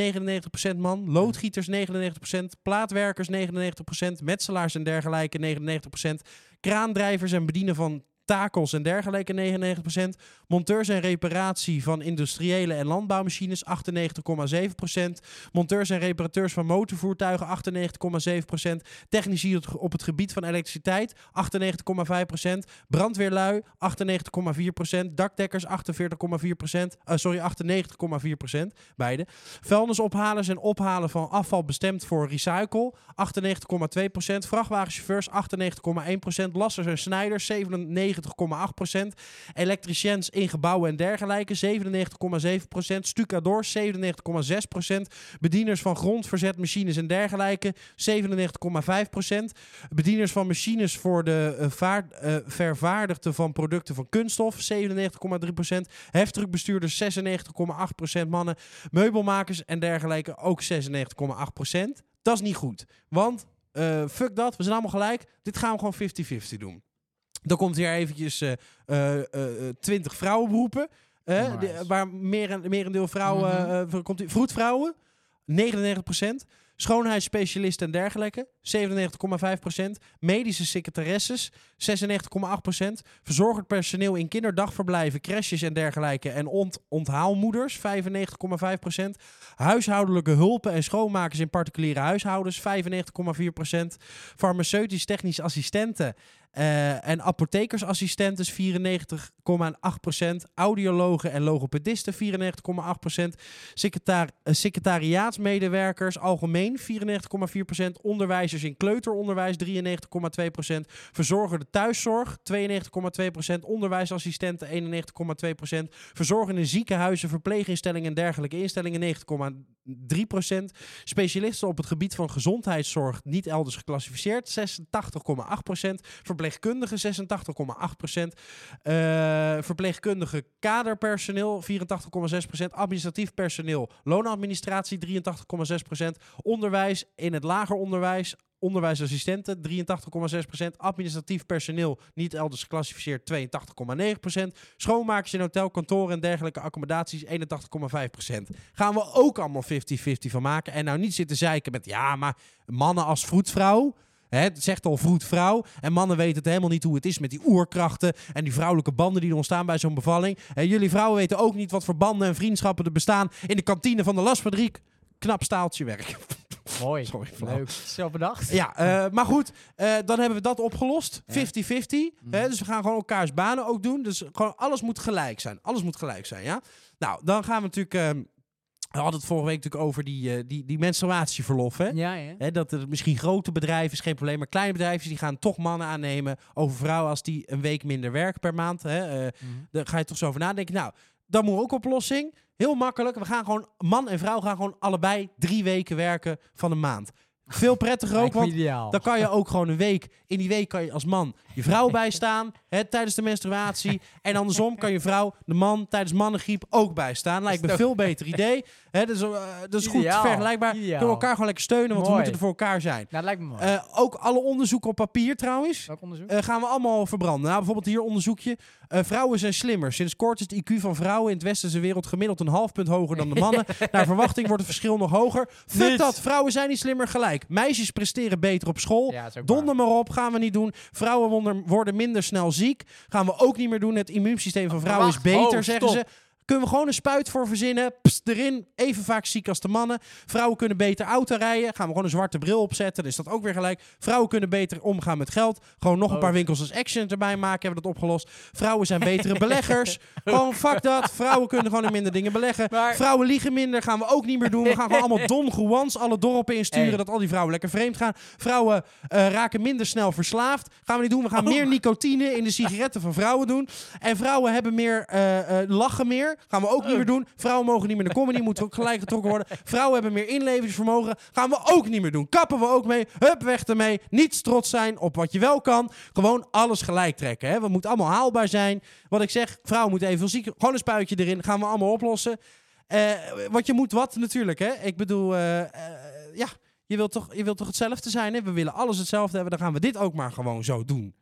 A: 99% man. Loodgieters, 99%. Plaatwerkers, 99%. Metselaars en dergelijke, 99%. Kraandrijvers en bedienen van takels en dergelijke, 99%. Monteurs en reparatie van industriële en landbouwmachines, 98,7%. Monteurs en reparateurs van motorvoertuigen, 98,7%. Technici op- op het gebied van elektriciteit, 98,5%. Brandweerlui, 98,4%. Dakdekkers, 48,4%. Eh, sorry, 98,4%. Beide. Vuilnisophalers en ophalen van afval bestemd voor recycle, 98,2%. Vrachtwagenchauffeurs, 98,1%. Lassers en snijders, 97,8%. Elektriciens in gebouwen en dergelijke, 97,7%. Stucadors, 97,6%. Bedieners van grondverzetmachines en dergelijke, 97,5%. Bedieners van machines voor de eh, vaart- eh, vervaardigden van producten van kunststof, 97,3%. Heftruckbestuurders, 96,8% mannen. Meubelmakers en dergelijke, ook 96,8%. Dat is niet goed, want eh, fuck dat, we zijn allemaal gelijk. Dit gaan we gewoon 50-50 doen. Dan komt hier eventjes eh eh, eh, eh, 20 vrouwenberoepen. eh,
B: Nice.
A: die- waar meer, merendeel vrouwen...
B: Mhm.
A: eh, eh, komt die- vroedvrouwen, 99%. Schoonheidsspecialisten en dergelijke, 97,5%. Medische secretaresses, 96,8%. Verzorgend personeel in kinderdagverblijven, crèches en dergelijke. En ont onthaalmoeders, 95,5%. Huishoudelijke hulpen en schoonmakers in particuliere huishoudens, 95,4%. Farmaceutisch-technisch assistenten eh, en apothekersassistenten, 94,8%. Audiologen en logopedisten, 94,8%. Secretar eh, secretariaatsmedewerkers algemeen 94,4%. Onderwijzers in kleuteronderwijs 93,2%. Verzorgende thuiszorg 92,2%. Onderwijsassistenten 91,2%. Verzorgende ziekenhuizen, verpleeginstellingen en dergelijke instellingen 9,3%. Specialisten op het gebied van gezondheidszorg niet elders geclassificeerd 86,8%. Verpleegkundigen 86,8%. Eh, verpleegkundige kaderpersoneel 84,6%. Administratief personeel, loonadministratie 83,6%. Onderwijs in het lager onderwijs. Onderwijsassistenten 83,6%. Administratief personeel, niet elders geclassificeerd, 82,9%. Schoonmakers in hotel, kantoren en dergelijke accommodaties, 81,5%. Gaan we ook allemaal 50-50 van maken. En nou niet zitten zeiken met, ja, maar mannen als vroedvrouw. Hè, het zegt al vroedvrouw. En mannen weten het helemaal niet hoe het is met die oerkrachten. En die vrouwelijke banden die er ontstaan bij zo'n bevalling. En jullie vrouwen weten ook niet wat voor banden en vriendschappen er bestaan. in de kantine van de lasfabriek. Knap staaltje werk.
B: Mooi.
A: Sorry, flauw.
B: Leuk. Zelf bedacht.
A: Ja, eh, maar goed, eh, dan hebben we dat opgelost. 50-50.
B: Mhm.
A: hè, dus we gaan gewoon elkaars banen ook doen. Dus gewoon alles moet gelijk zijn. Alles moet gelijk zijn, ja. Nou, dan gaan we natuurlijk... ehm, we hadden het vorige week natuurlijk over die, eh, die, die menstruatieverlof, hè?
B: Ja, hè?
A: Hè, dat er misschien grote bedrijven is geen probleem, maar kleine bedrijven die gaan toch mannen aannemen over vrouwen als die een week minder werken per maand. Hè, eh,
B: Mhm.
A: Daar ga je toch zo over nadenken. Nou, dat moet ook oplossing. Heel makkelijk. We gaan gewoon, man en vrouw gaan gewoon allebei drie weken werken van een maand. Veel prettiger ook,
B: Lijkt me
A: want
B: ideaal.
A: dan kan je ook gewoon een week. In die week kan je als man je vrouw bijstaan <laughs> hè, tijdens de menstruatie. En andersom kan je vrouw de man tijdens mannengriep ook bijstaan. Lijkt me een veel beter idee. Hè, dus, eh, dat is goed
B: Ideaal.
A: vergelijkbaar.
B: Ideaal.
A: Kunnen we elkaar gewoon lekker steunen, want we
B: Mooi.
A: moeten er voor elkaar zijn.
B: Nou, dat lijkt me mooi.
A: Eh, ook alle onderzoeken op papier trouwens.
B: Welk onderzoek?
A: eh, gaan we allemaal verbranden. Nou, bijvoorbeeld hier onderzoekje. eh, vrouwen zijn slimmer. Sinds kort is het IQ van vrouwen in het westerse wereld gemiddeld een half punt hoger dan de
B: <laughs>
A: mannen. Naar verwachting wordt het verschil nog hoger. Fuck
B: Niet.
A: dat, vrouwen zijn niet slimmer gelijk. Meisjes presteren beter op school.
B: Ja, dat is ook
A: Donder maar op, gaan we niet doen. Vrouwen wonder- worden minder snel ziek. Gaan we ook niet meer doen. Het immuunsysteem van vrouwen is
B: Wacht,
A: beter,
B: oh,
A: zeggen
B: stop.
A: ze. Kunnen we gewoon een spuit voor verzinnen? Pst, erin. Even vaak ziek als de mannen. Vrouwen kunnen beter auto rijden. Gaan we gewoon een zwarte bril opzetten. Dan is dat ook weer gelijk. Vrouwen kunnen beter omgaan met geld. Gewoon nog een
B: Oh.
A: paar winkels als Action erbij maken. Hebben we dat opgelost. Vrouwen zijn betere
B: <laughs>
A: beleggers. Gewoon fuck dat. Vrouwen kunnen gewoon in minder dingen beleggen.
B: Maar-
A: Vrouwen liegen minder. Gaan we ook niet meer doen. We gaan gewoon
B: <laughs>
A: allemaal Don Juans alle dorpen insturen.
B: Hey.
A: Dat al die vrouwen lekker vreemd gaan. Vrouwen eh, raken minder snel verslaafd. Gaan we niet doen. We gaan meer nicotine in de sigaretten van vrouwen doen. En vrouwen hebben meer eh, eh, lachen meer. Gaan we ook niet meer doen. Vrouwen mogen niet meer naar comedy. Moeten ook gelijk getrokken worden. Vrouwen hebben meer inlevingsvermogen. Gaan we ook niet meer doen. Kappen we ook mee. Hup, weg ermee. Niet trots zijn op wat je wel kan. Gewoon alles gelijk trekken. Hè? We moeten allemaal haalbaar zijn. Wat ik zeg, vrouwen moeten evenveel ziek. Gewoon een spuitje erin. Gaan we allemaal oplossen. Eh, wat je moet wat natuurlijk, hè? Ik bedoel, eh, eh, ja, je wilt, toch, je wilt toch hetzelfde zijn, hè? We willen alles hetzelfde hebben, dan gaan we dit ook maar gewoon zo doen.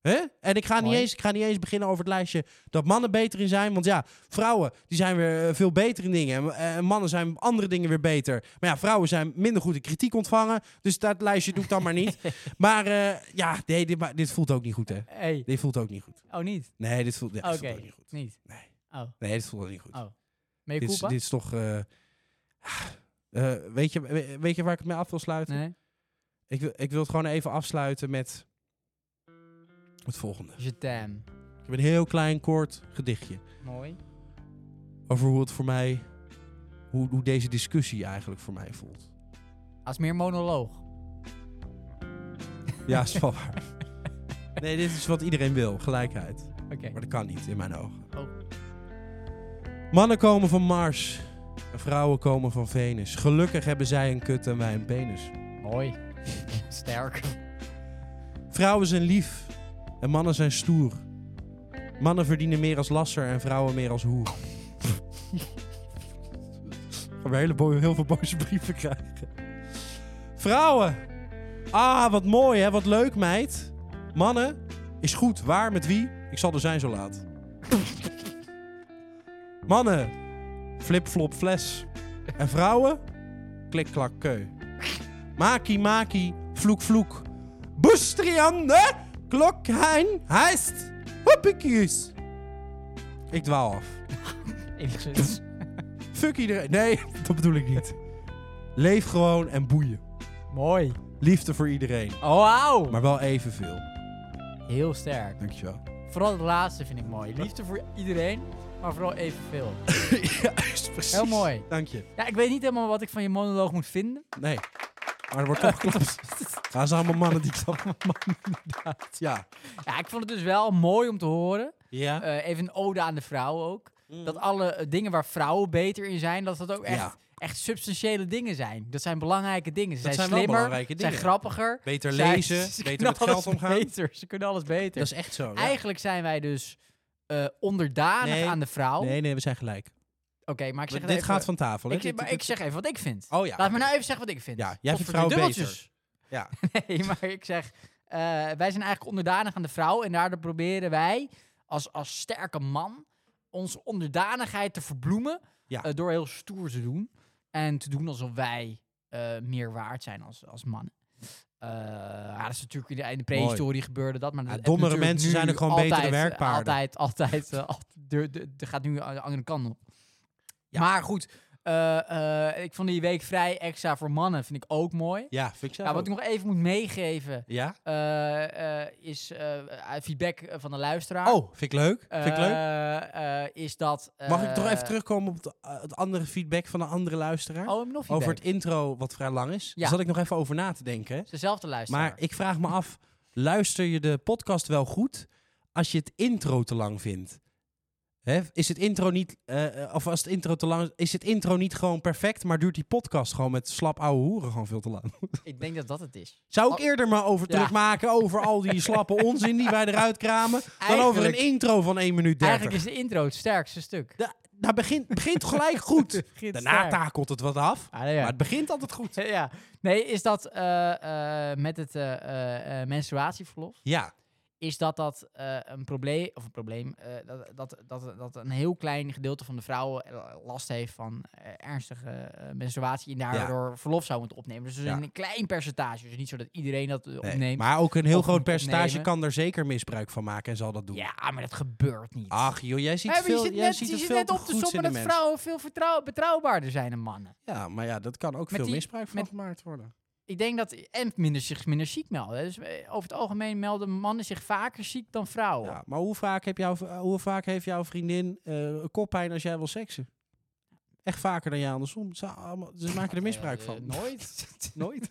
A: Hè? En ik ga, niet
B: Mooi.
A: eens, ik ga niet eens beginnen over het lijstje dat mannen beter in zijn. Want ja, vrouwen die zijn weer eh, veel beter in dingen. En eh, mannen zijn op andere dingen weer beter. Maar ja, vrouwen zijn minder goed in kritiek ontvangen. Dus dat lijstje doe ik dan maar
B: <laughs>
A: niet. Maar eh, ja, nee, dit, ma- dit voelt ook niet goed, hè?
B: Hey.
A: Dit voelt ook niet goed.
B: Oh, niet?
A: Nee, dit voelt, ja, dit
B: Oké.
A: voelt ook niet goed.
B: Niet.
A: Nee.
B: Oh.
A: Nee, dit voelt ook niet goed.
B: Oh. Mea
A: Dit is,
B: culpa?
A: dit is toch. eh, eh, weet, je, we- weet je waar ik het mee af wil sluiten?
B: Nee.
A: Ik, wil, ik wil het gewoon even afsluiten met. Het volgende.
B: Je tam.
A: Ik heb een heel klein, kort gedichtje.
B: Mooi.
A: Over hoe het voor mij. Hoe, hoe deze discussie eigenlijk voor mij voelt.
B: Als meer monoloog.
A: Ja, is wel
B: <laughs>
A: waar. Nee, dit is wat iedereen wil: gelijkheid.
B: Oké.
A: Maar dat kan niet, in mijn ogen.
B: Oh.
A: Mannen komen van Mars. En vrouwen komen van Venus. Gelukkig hebben zij een kut en wij een penis.
B: Mooi.
A: <laughs>
B: Sterk.
A: Vrouwen zijn lief en mannen zijn stoer. Mannen verdienen meer als lasser en vrouwen meer als hoer. <laughs> Gaan we hele bo- heel veel boze brieven krijgen. Vrouwen! Ah, wat mooi hè, wat leuk meid. Mannen, is goed, waar, met wie? Ik zal er zijn zo laat. <laughs> Mannen, flip-flop fles. En vrouwen, klik-klak keu. Maki maki, vloek vloek. Boestriande, klokhein, heist, hoppikies. Ik dwaal af.
B: Eerlijk gezegd.
A: Fuck iedereen. Nee, <laughs> dat bedoel ik niet. Leef gewoon en boeien.
B: Mooi.
A: Liefde voor iedereen.
B: Oh, wauw.
A: Maar wel evenveel.
B: Heel sterk.
A: Dankjewel.
B: Vooral het laatste vind ik mooi. Liefde voor iedereen, maar vooral evenveel.
A: ja, <laughs> precies.
B: Heel mooi.
A: Dank je.
B: Ja, ik weet niet helemaal wat ik van je monoloog moet vinden.
A: Nee. Maar er wordt toch geklapt.
B: <laughs>
A: Gaan ze allemaal mannen die klappen. Ja.
B: Ja, ik vond het dus wel mooi om te horen.
A: Ja.
B: Eh, even een ode aan de vrouw ook. Dat alle eh, dingen waar vrouwen beter in zijn, dat dat ook echt,
A: Mm. Ja.
B: echt substantiële dingen zijn. Dat zijn belangrijke dingen. Ze
A: Dat
B: zijn,
A: zijn wel
B: slimmer,
A: belangrijke
B: ze
A: dingen.
B: zijn grappiger.
A: Beter
B: ze zijn-
A: lezen, beter
B: ze kunnen
A: met geld
B: alles
A: omgaan.
B: Beter, ze kunnen alles beter.
A: Dat is echt zo. ja.
B: Eigenlijk zijn wij dus eh, onderdanig
A: Nee.
B: aan de vrouw.
A: Nee, nee, we zijn gelijk.
B: Oké, maar ik zeg
A: Dit
B: het even,
A: gaat van tafel, hè?
B: Ik, zeg-
A: Dit-
B: maar
A: dit-
B: ik zeg even wat ik vind.
A: Oh ja.
B: Laat me nou even zeggen wat ik vind.
A: Ja, jij vindt
B: Godverdomme dus
A: vrouwen
B: dubbeltjes.
A: Ja.
B: Nee, <laughs> maar ik zeg, eh, wij zijn eigenlijk onderdanig aan de vrouw. En daardoor proberen wij als, als sterke man onze onderdanigheid te verbloemen.
A: Ja.
B: eh, door heel stoer te doen. En te doen alsof wij eh, meer waard zijn als, als mannen. Eh, ja, dat is natuurlijk in de, in de prehistorie gebeurde dat. Maar
A: Ja,
B: dat heb
A: dommere
B: natuurlijk
A: mensen
B: nu
A: zijn ook gewoon betere
B: altijd, eh,
A: werkpaarden.
B: Altijd, altijd. eh, <laughs> al- de, de, de gaat nu de andere kant op. Maar goed, eh, eh, ik vond die week vrij extra voor mannen. Vind ik ook mooi.
A: Ja, vind ik zo.
B: Ja, wat ik nog even moet meegeven
A: Ja?
B: eh, eh, is eh, eh, feedback eh, van de luisteraar.
A: Oh, vind ik leuk.
B: Eh,
A: vind ik leuk.
B: eh, is dat... eh,
A: Mag ik toch even terugkomen op het, eh, het andere feedback van een andere luisteraar?
B: Oh, we hebben nog feedback.
A: over het intro, wat vrij lang is.
B: Ja.
A: Daar zat ik nog even over na te denken.
B: Het is dezelfde luisteraar.
A: Maar ik vraag me af, luister je de podcast wel goed als je het intro te lang vindt? Hè? Is het intro niet, eh, eh, of als het intro te lang is, is het intro niet gewoon perfect, maar duurt die podcast gewoon met slap ouwe hoeren gewoon veel te lang?
B: Ik denk dat dat het
A: <laughs>
B: is.
A: Zou ik
B: Oh.
A: eerder maar over
B: Ja.
A: druk maken over al die slappe onzin die wij eruit kramen, dan over een
B: Eigenlijk-
A: intro van 1 minuut 30?
B: Eigenlijk is de intro het sterkste stuk.
A: Da- daar begint, begint gelijk goed.
B: <laughs> Begint
A: Daarna
B: sterk.
A: takelt het wat af,
B: Ah, nee,
A: <laughs>
B: ja.
A: maar het begint altijd goed.
B: <laughs> ja. Nee, is dat eh, eh, met het eh, eh, eh, menstruatieverlof?
A: Ja,
B: is dat dat eh, een probleem, of een probleem, eh, dat, dat, dat, dat een heel klein gedeelte van de vrouwen eh, last heeft van eh, ernstige eh, menstruatie en daardoor verlof zou moeten opnemen. Dus, dus
A: Ja.
B: een klein percentage. Dus niet zo dat iedereen dat eh,
A: nee.
B: opneemt.
A: maar ook een heel
B: Of
A: groot
B: moet
A: percentage
B: opnemen.
A: kan er zeker misbruik van maken en zal dat doen.
B: Ja, maar dat gebeurt niet.
A: Ach joh, jij ziet
B: Hè, maar je
A: veel,
B: zit
A: jij
B: net,
A: ziet
B: je
A: het
B: zit
A: veel
B: net
A: te
B: op te
A: goeds in
B: sommen
A: de
B: dat
A: mens.
B: vrouwen veel vertrouw, betrouwbaarder zijn dan mannen.
A: Ja, maar ja, dat kan ook
B: Met
A: veel
B: die-
A: misbruik van
B: met-
A: gemaakt worden.
B: Ik denk dat, en minder zich minder ziek melden. hè. Dus eh, over het algemeen melden mannen zich vaker ziek dan vrouwen.
A: Ja, maar hoe vaak, heb jouw, eh, hoe vaak heeft jouw vriendin eh koppijn als jij wil seksen? Echt vaker dan jij andersom. Ze, allemaal- ze maken er misbruik
B: <laughs> Eh,
A: van.
B: eh, nooit.
A: <laughs> Nooit.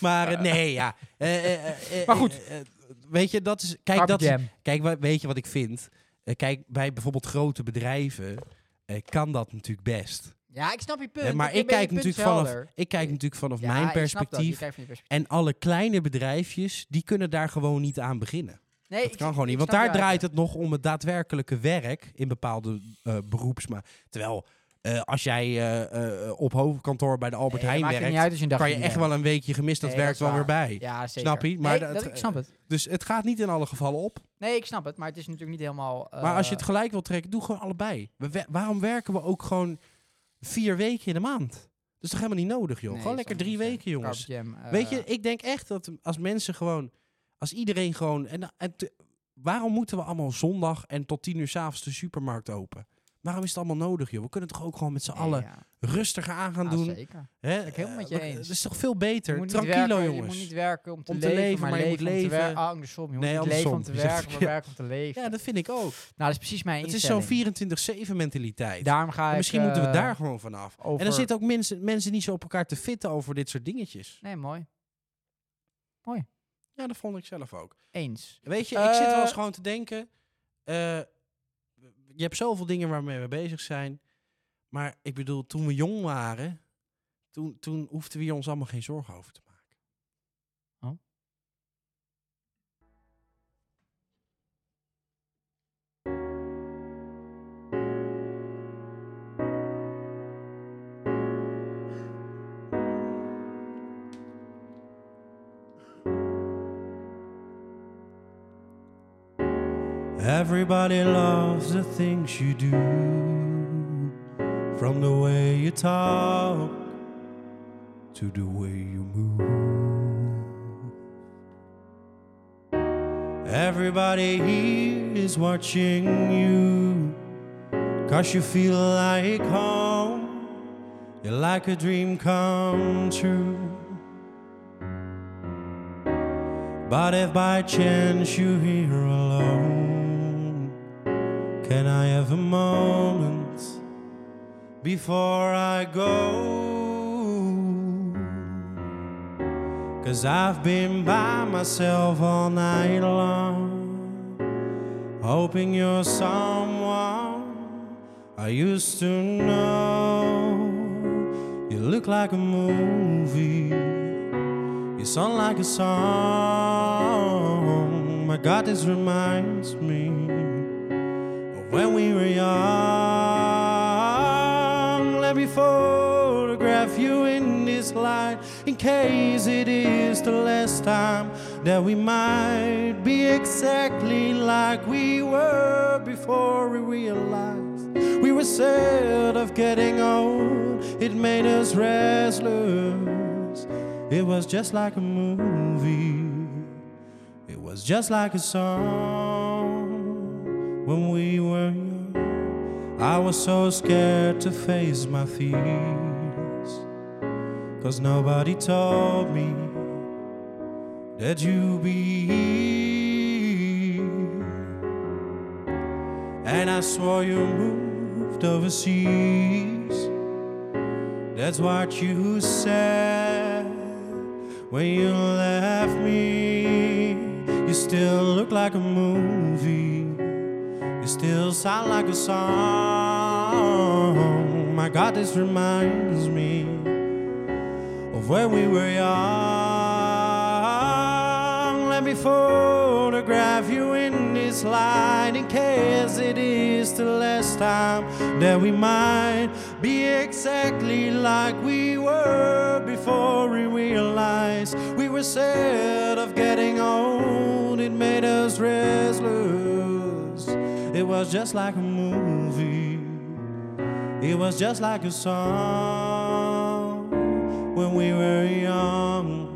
A: Maar eh, nee, ja. Eh, eh, eh,
B: Maar goed.
A: eh, eh, weet je, dat is... Kijk,
B: Carpe
A: dat is,
B: diem.
A: kijk wa- weet je wat ik vind? Eh, kijk, bij bijvoorbeeld grote bedrijven eh, kan dat natuurlijk best.
B: Ja, ik snap je punt.
A: Eh, maar ik
B: ben je
A: kijk,
B: punt
A: natuurlijk vanaf,
B: helder.
A: ik kijk natuurlijk vanaf
B: Ja,
A: mijn
B: ik snap dat. Je
A: perspectief.
B: kijkt van je perspectief.
A: En alle kleine bedrijfjes, die kunnen daar gewoon niet aan beginnen.
B: Nee,
A: Dat kan gewoon niet. Want daar draait het nog om het daadwerkelijke werk in bepaalde eh beroepsma. Terwijl, eh, als jij eh, eh, op hoofdkantoor bij de Albert
B: Nee,
A: Heijn
B: maakt het
A: werkt,
B: niet uit als je een
A: kan
B: dagje
A: je
B: niet
A: echt
B: werkt.
A: wel een weekje gemist. Dat
B: Nee,
A: werkt
B: dat is
A: wel weer
B: waar.
A: bij.
B: Ja, zeker.
A: Snap je? Maar
B: nee,
A: dat-
B: dat- ik snap het.
A: Dus het gaat niet in alle gevallen op.
B: Nee, ik snap het. Maar het is natuurlijk niet helemaal... eh,
A: maar als je het gelijk wil trekken, doe gewoon allebei. We we- waarom werken we ook gewoon vier weken in de maand? Dat is toch helemaal niet nodig, joh?
B: nee,
A: gewoon
B: dat
A: lekker
B: is
A: drie
B: onzin.
A: weken, jongens.
B: Carpe diem, eh,
A: Weet je, ik denk echt dat als mensen gewoon, als iedereen gewoon, en, en te- waarom moeten we allemaal zondag en tot tien uur s'avonds de supermarkt open? Waarom is het allemaal nodig, joh? We kunnen toch ook gewoon met z'n
B: nee,
A: allen
B: ja.
A: rustiger aan gaan
B: Ah,
A: doen.
B: Zeker.
A: Hè?
B: ik helemaal met je
A: Eh, we-
B: eens.
A: Dat is toch veel
B: Je
A: beter?
B: moet niet
A: Tranquilo,
B: werken, Je
A: jongens.
B: moet niet werken om te,
A: Om te leven,
B: maar
A: maar je
B: leven
A: moet
B: om te
A: leven.
B: werken. Ah, andersom. Je moet
A: Nee,
B: niet leven om te
A: andersom. Je zegt
B: werken, maar
A: verkeerd.
B: werken om te leven.
A: Ja, dat vind ik ook.
B: Nou, dat is precies mijn
A: Het is zo'n
B: instelling.
A: 24-7 mentaliteit.
B: Daarom ga ik...
A: En misschien moeten we
B: eh,
A: daar gewoon vanaf. En
B: over-
A: dan zitten ook mensen, mensen niet zo op elkaar te fitten over dit soort dingetjes.
B: Nee, mooi.
A: Ja, dat vond ik zelf ook.
B: Eens.
A: Weet je, ik zit wel eens
B: Eh,
A: gewoon te denken. eh, je hebt zoveel dingen waarmee we bezig zijn. Maar ik bedoel, toen we jong waren, toen, toen hoefden we hier ons allemaal geen zorgen over te maken.
B: Oh.
A: Everybody loves the things you do. From the way you talk to the way you move. Everybody here is watching you. Cause you feel like home. You're like a dream come true. But if by chance you're here alone, can I have a moment before I go? Cause I've been by myself all night long, hoping you're someone I used to know. You look like a movie. You sound like a song. My God, this reminds me of when we were young. Let me photograph you in this light in case it is the last time that we might be exactly like we were before we realized we were scared of getting old. It made us restless. It was just like a movie. It was just like a song when we were young. I was so scared to face my fears. Cause nobody told me that you'd be here. And I swore you moved overseas. That's what you said when you left me. You still look like a movie. You still sound like a song. My God, this reminds me of when we were young. Let me photograph you in this light in case it is the last time that we might be exactly like we were before we realized we were scared of getting old. It made us restless. It was just like a movie. It was just like a song when we were young.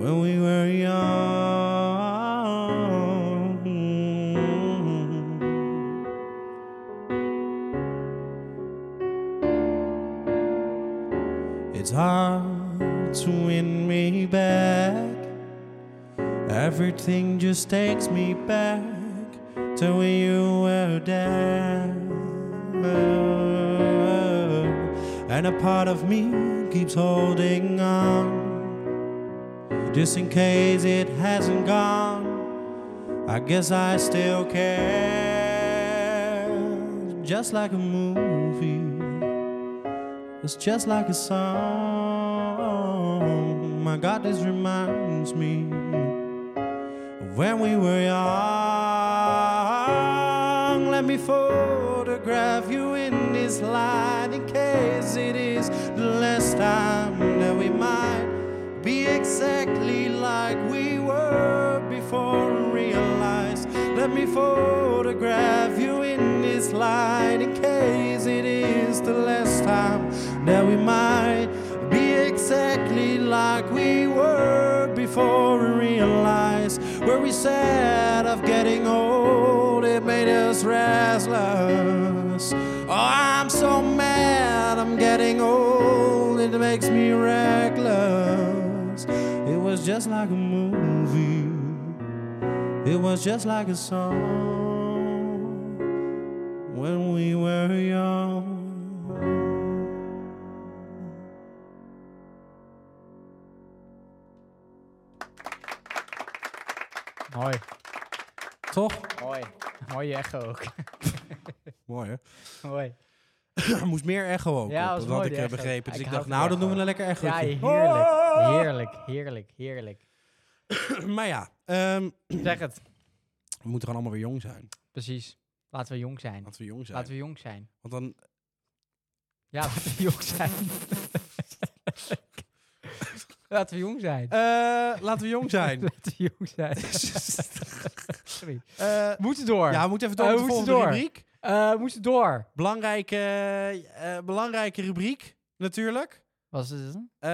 A: When we were young. It's hard to win me back. Everything just takes me back to when you were there. And a part of me keeps holding on. Just in case it hasn't gone, I guess I still care. Just like a movie. It's just like a song. My God, this reminds me of when we were young. Let me photograph you in this light in case it is the last time that we might be exactly like we were before we realized. Let me photograph you in this light in case it is the last time that we might be exactly like we were before we realized where we sad of getting old. It made us restless. Oh, I'm so mad I'm getting old. It makes me reckless. It was just like a movie. It was just like a song when we were young.
B: Mooi.
A: Toch?
B: Mooi. Mooie echo ook.
A: Mooi hè?
B: Mooi.
A: Er moest meer echo ook.
B: Ja,
A: Ja,
B: was
A: dat
B: mooi,
A: had ik
B: die
A: eh,
B: echo.
A: begrepen. Dus
B: Ik
A: ik,
B: hou
A: dacht,
B: van
A: nou,
B: die
A: dan doen we
B: echo.
A: een lekker echo.
B: Ja, heerlijk. Heerlijk, heerlijk, heerlijk.
A: <clears throat> maar ja, ehm,
B: Zeg het.
A: we moeten gewoon allemaal weer jong zijn.
B: Precies. Laten we jong zijn.
A: Laten we jong zijn.
B: Laten we jong zijn.
A: Want dan, <laughs>
B: Ja, laten we jong zijn. laten we jong zijn.
A: Eh, laten we jong zijn.
B: <laughs> Laten we jong
A: <laughs>
B: zijn. Sorry.
A: Eh,
B: We moeten door.
A: ja, we moeten even door
B: Eh,
A: met de
B: we
A: volgende
B: moeten door.
A: rubriek.
B: Eh, we moeten door.
A: Belangrijke, eh, belangrijke rubriek, natuurlijk.
B: Was het het?
A: Eh,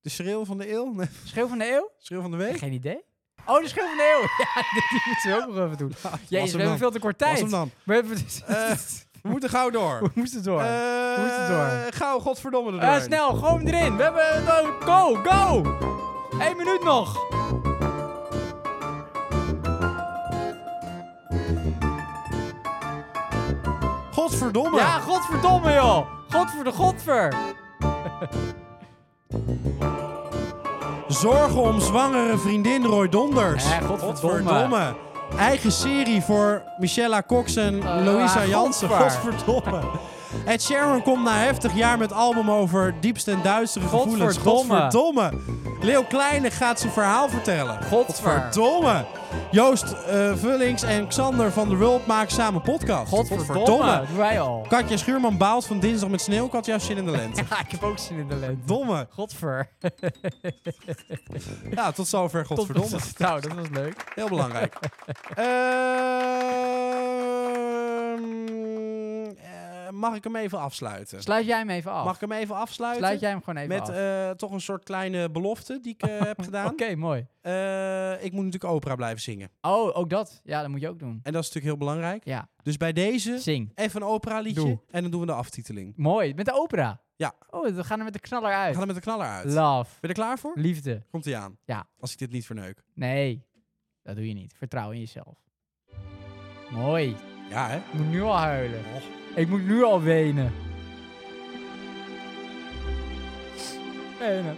A: de schreeuw van de eeuw? Nee, <laughs>
B: Schreeuw van de eeuw?
A: schreeuw van de week?
B: Geen idee. Oh, de schreeuw van de eeuw! <laughs> Ja, die moeten we ook nog
A: <laughs>
B: even doen. Jezus, we
A: dan.
B: hebben veel te kort
A: Was
B: tijd.
A: hem
B: <laughs>
A: dan.
B: We, hebben- dus-
A: Eh, we moeten gauw door.
B: we moesten door.
A: Eh,
B: Hoe is het door?
A: Gauw, godverdomme erdoor.
B: Eh, snel, gooi hem erin. We hebben het over- Go, go! Eén minuut nog.
A: Godverdomme.
B: Ja, godverdomme joh. Godver de godver.
A: Zorgen om zwangere vriendin Roy Donders.
B: Eh, godverdomme.
A: Eigen serie voor Michelle Cox en Louisa
B: ah,
A: Jansen.
B: godver.
A: Godverdomme. Ed Sheeran komt na heftig jaar met album over diepst en duistere gevoelens.
B: Godverdomme.
A: Godverdomme. Leo Kleine gaat zijn verhaal vertellen.
B: Godver.
A: Godverdomme. Joost eh, Vullings en Xander van der Wulp maken samen podcast.
B: Godverdomme. Dat doen wij al.
A: Katja Schuurman baalt van dinsdag met sneeuw. Katja heeft zin in de lente.
B: <laughs> Ja, ik heb ook zin in de lente.
A: Domme.
B: Godver. <laughs>
A: Ja, tot zover. Godverdomme.
B: Nou, dat was leuk.
A: Heel
B: <laughs>
A: belangrijk. Ehm, eh, mag ik hem even afsluiten?
B: Sluit jij hem even af.
A: Mag ik hem even afsluiten?
B: Sluit jij hem gewoon even
A: Met
B: af.
A: eh, toch een soort kleine belofte die ik eh,
B: <laughs>
A: heb gedaan.
B: Oké, mooi.
A: Eh, ik moet natuurlijk opera blijven zingen.
B: Oh, ook dat. Ja, dat moet je ook doen.
A: En dat is natuurlijk heel belangrijk.
B: Ja,
A: Dus bij deze
B: zing.
A: even een opera liedje.
B: Doe.
A: En dan doen we de aftiteling.
B: Mooi, met de opera.
A: Ja.
B: Oh, we gaan er met de knaller
A: We
B: uit.
A: gaan er met de knaller uit. Ben
B: Love.
A: je er klaar voor?
B: Liefde.
A: Komt hij aan.
B: Ja.
A: Als ik dit niet verneuk.
B: Nee, dat doe je niet. Vertrouw in jezelf. Mooi.
A: Ja, hè?
B: Ik moet nu al huilen. Ik moet nu al wenen. Wenen.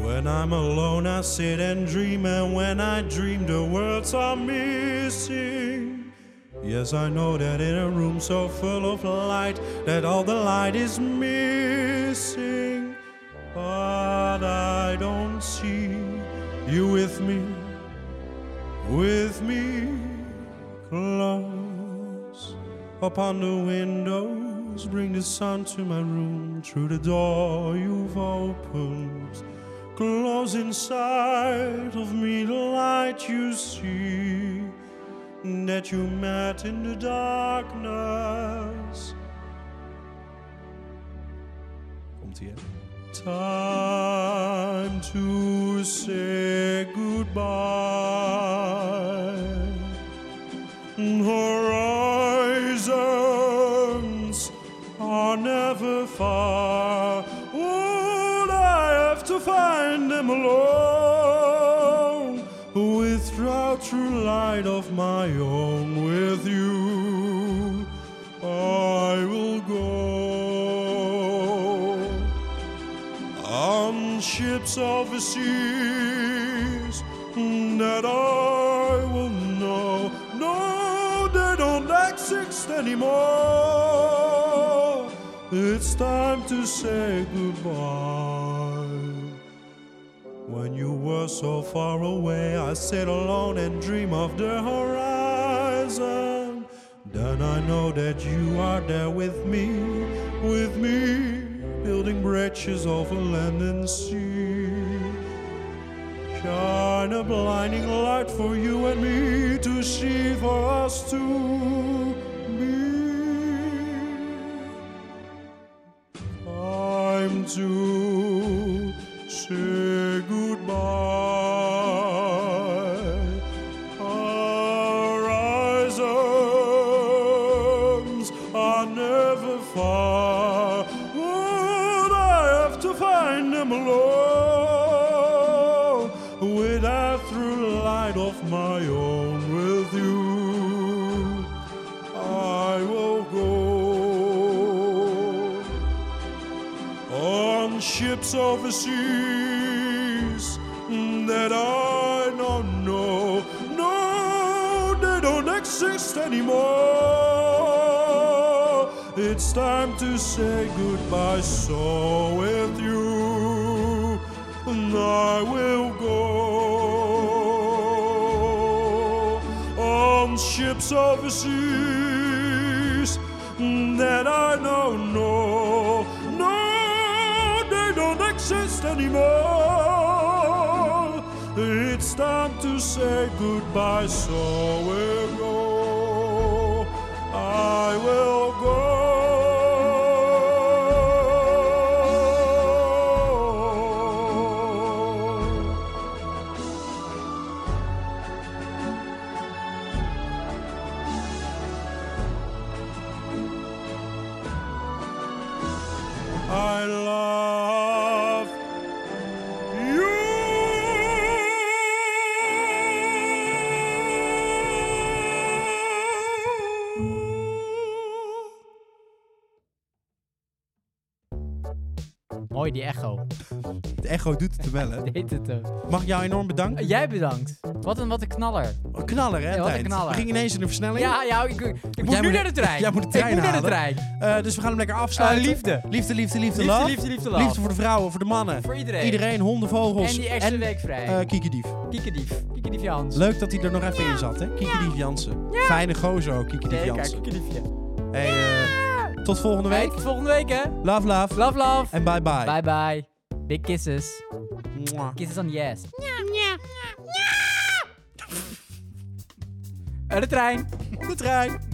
A: When I'm alone, I sit and dream, and when I dream, the words are missing. Yes, I know that in a room so full of light, that all the light is missing. But I don't see you with me, with me close. Upon the windows, bring the sun to my room. Through the door you've opened, close inside of me the light you see that you met in the darkness. Komt ie, Time to say goodbye horizons are never far. Would I have to find them alone? With drought through light of my own, with you, I will go on ships of the seas that I will know. No, they don't exist anymore. It's time to say goodbye. When you were so far away, I sit alone and dream of the horizon. Then I know that you are there with me, with me, building bridges over land and sea. Shine a blinding light for you and me to see, for us to be. Time to say goodbye. Horizons are never far. Would I have to find them alone? With that through light of my own with you, I will go on ships of the seas that I don't know. No, they don't exist anymore. It's time to say goodbye. So with you, I will go on ships of the seas that I know no. No, they don't
H: anymore. It's time to say goodbye, so we'll go. I will go. I love you.
B: Mooi die echo.
A: De echo doet het wel, hè?
B: Deed het ook. Eh,
A: Mag ik jou enorm bedanken?
B: Jij bedankt. Wat een, wat een knaller.
A: Een Knaller, hè?
B: Ja, wat een
A: Tijn?
B: knaller.
A: We gingen ineens in de versnelling.
B: Ja, ja ik, ik moet
A: jij
B: nu
A: moet-
B: naar de trein.
A: jij moet de trein
B: Ik moet naar de
A: halen.
B: trein.
A: Eh, dus we gaan hem lekker afsluiten.
B: Eh, liefde.
A: Liefde, liefde, liefde,
B: Liefde,
A: love.
B: liefde, liefde, love.
A: Liefde voor de vrouwen, voor de mannen.
B: Voor iedereen.
A: Iedereen, honden, vogels.
B: En die extra week vrij.
A: eh, Kiki Dief.
B: Kiekendief. Kiekendief Jans.
A: Leuk dat hij er nog even in zat, hè? Kiki Dief Jansen. Fijne gozer ook, Kiki Dief
B: Nee, kijk,
A: Jansen.
B: kiekendiefje.
A: Hey, eh, tot volgende week.
B: Tot volgende week, hè.
A: Love, love.
B: Love, love.
A: En bye bye.
B: Bye, bye. Big kisses. Kisses on the ass. Eh, de trein.
A: De trein.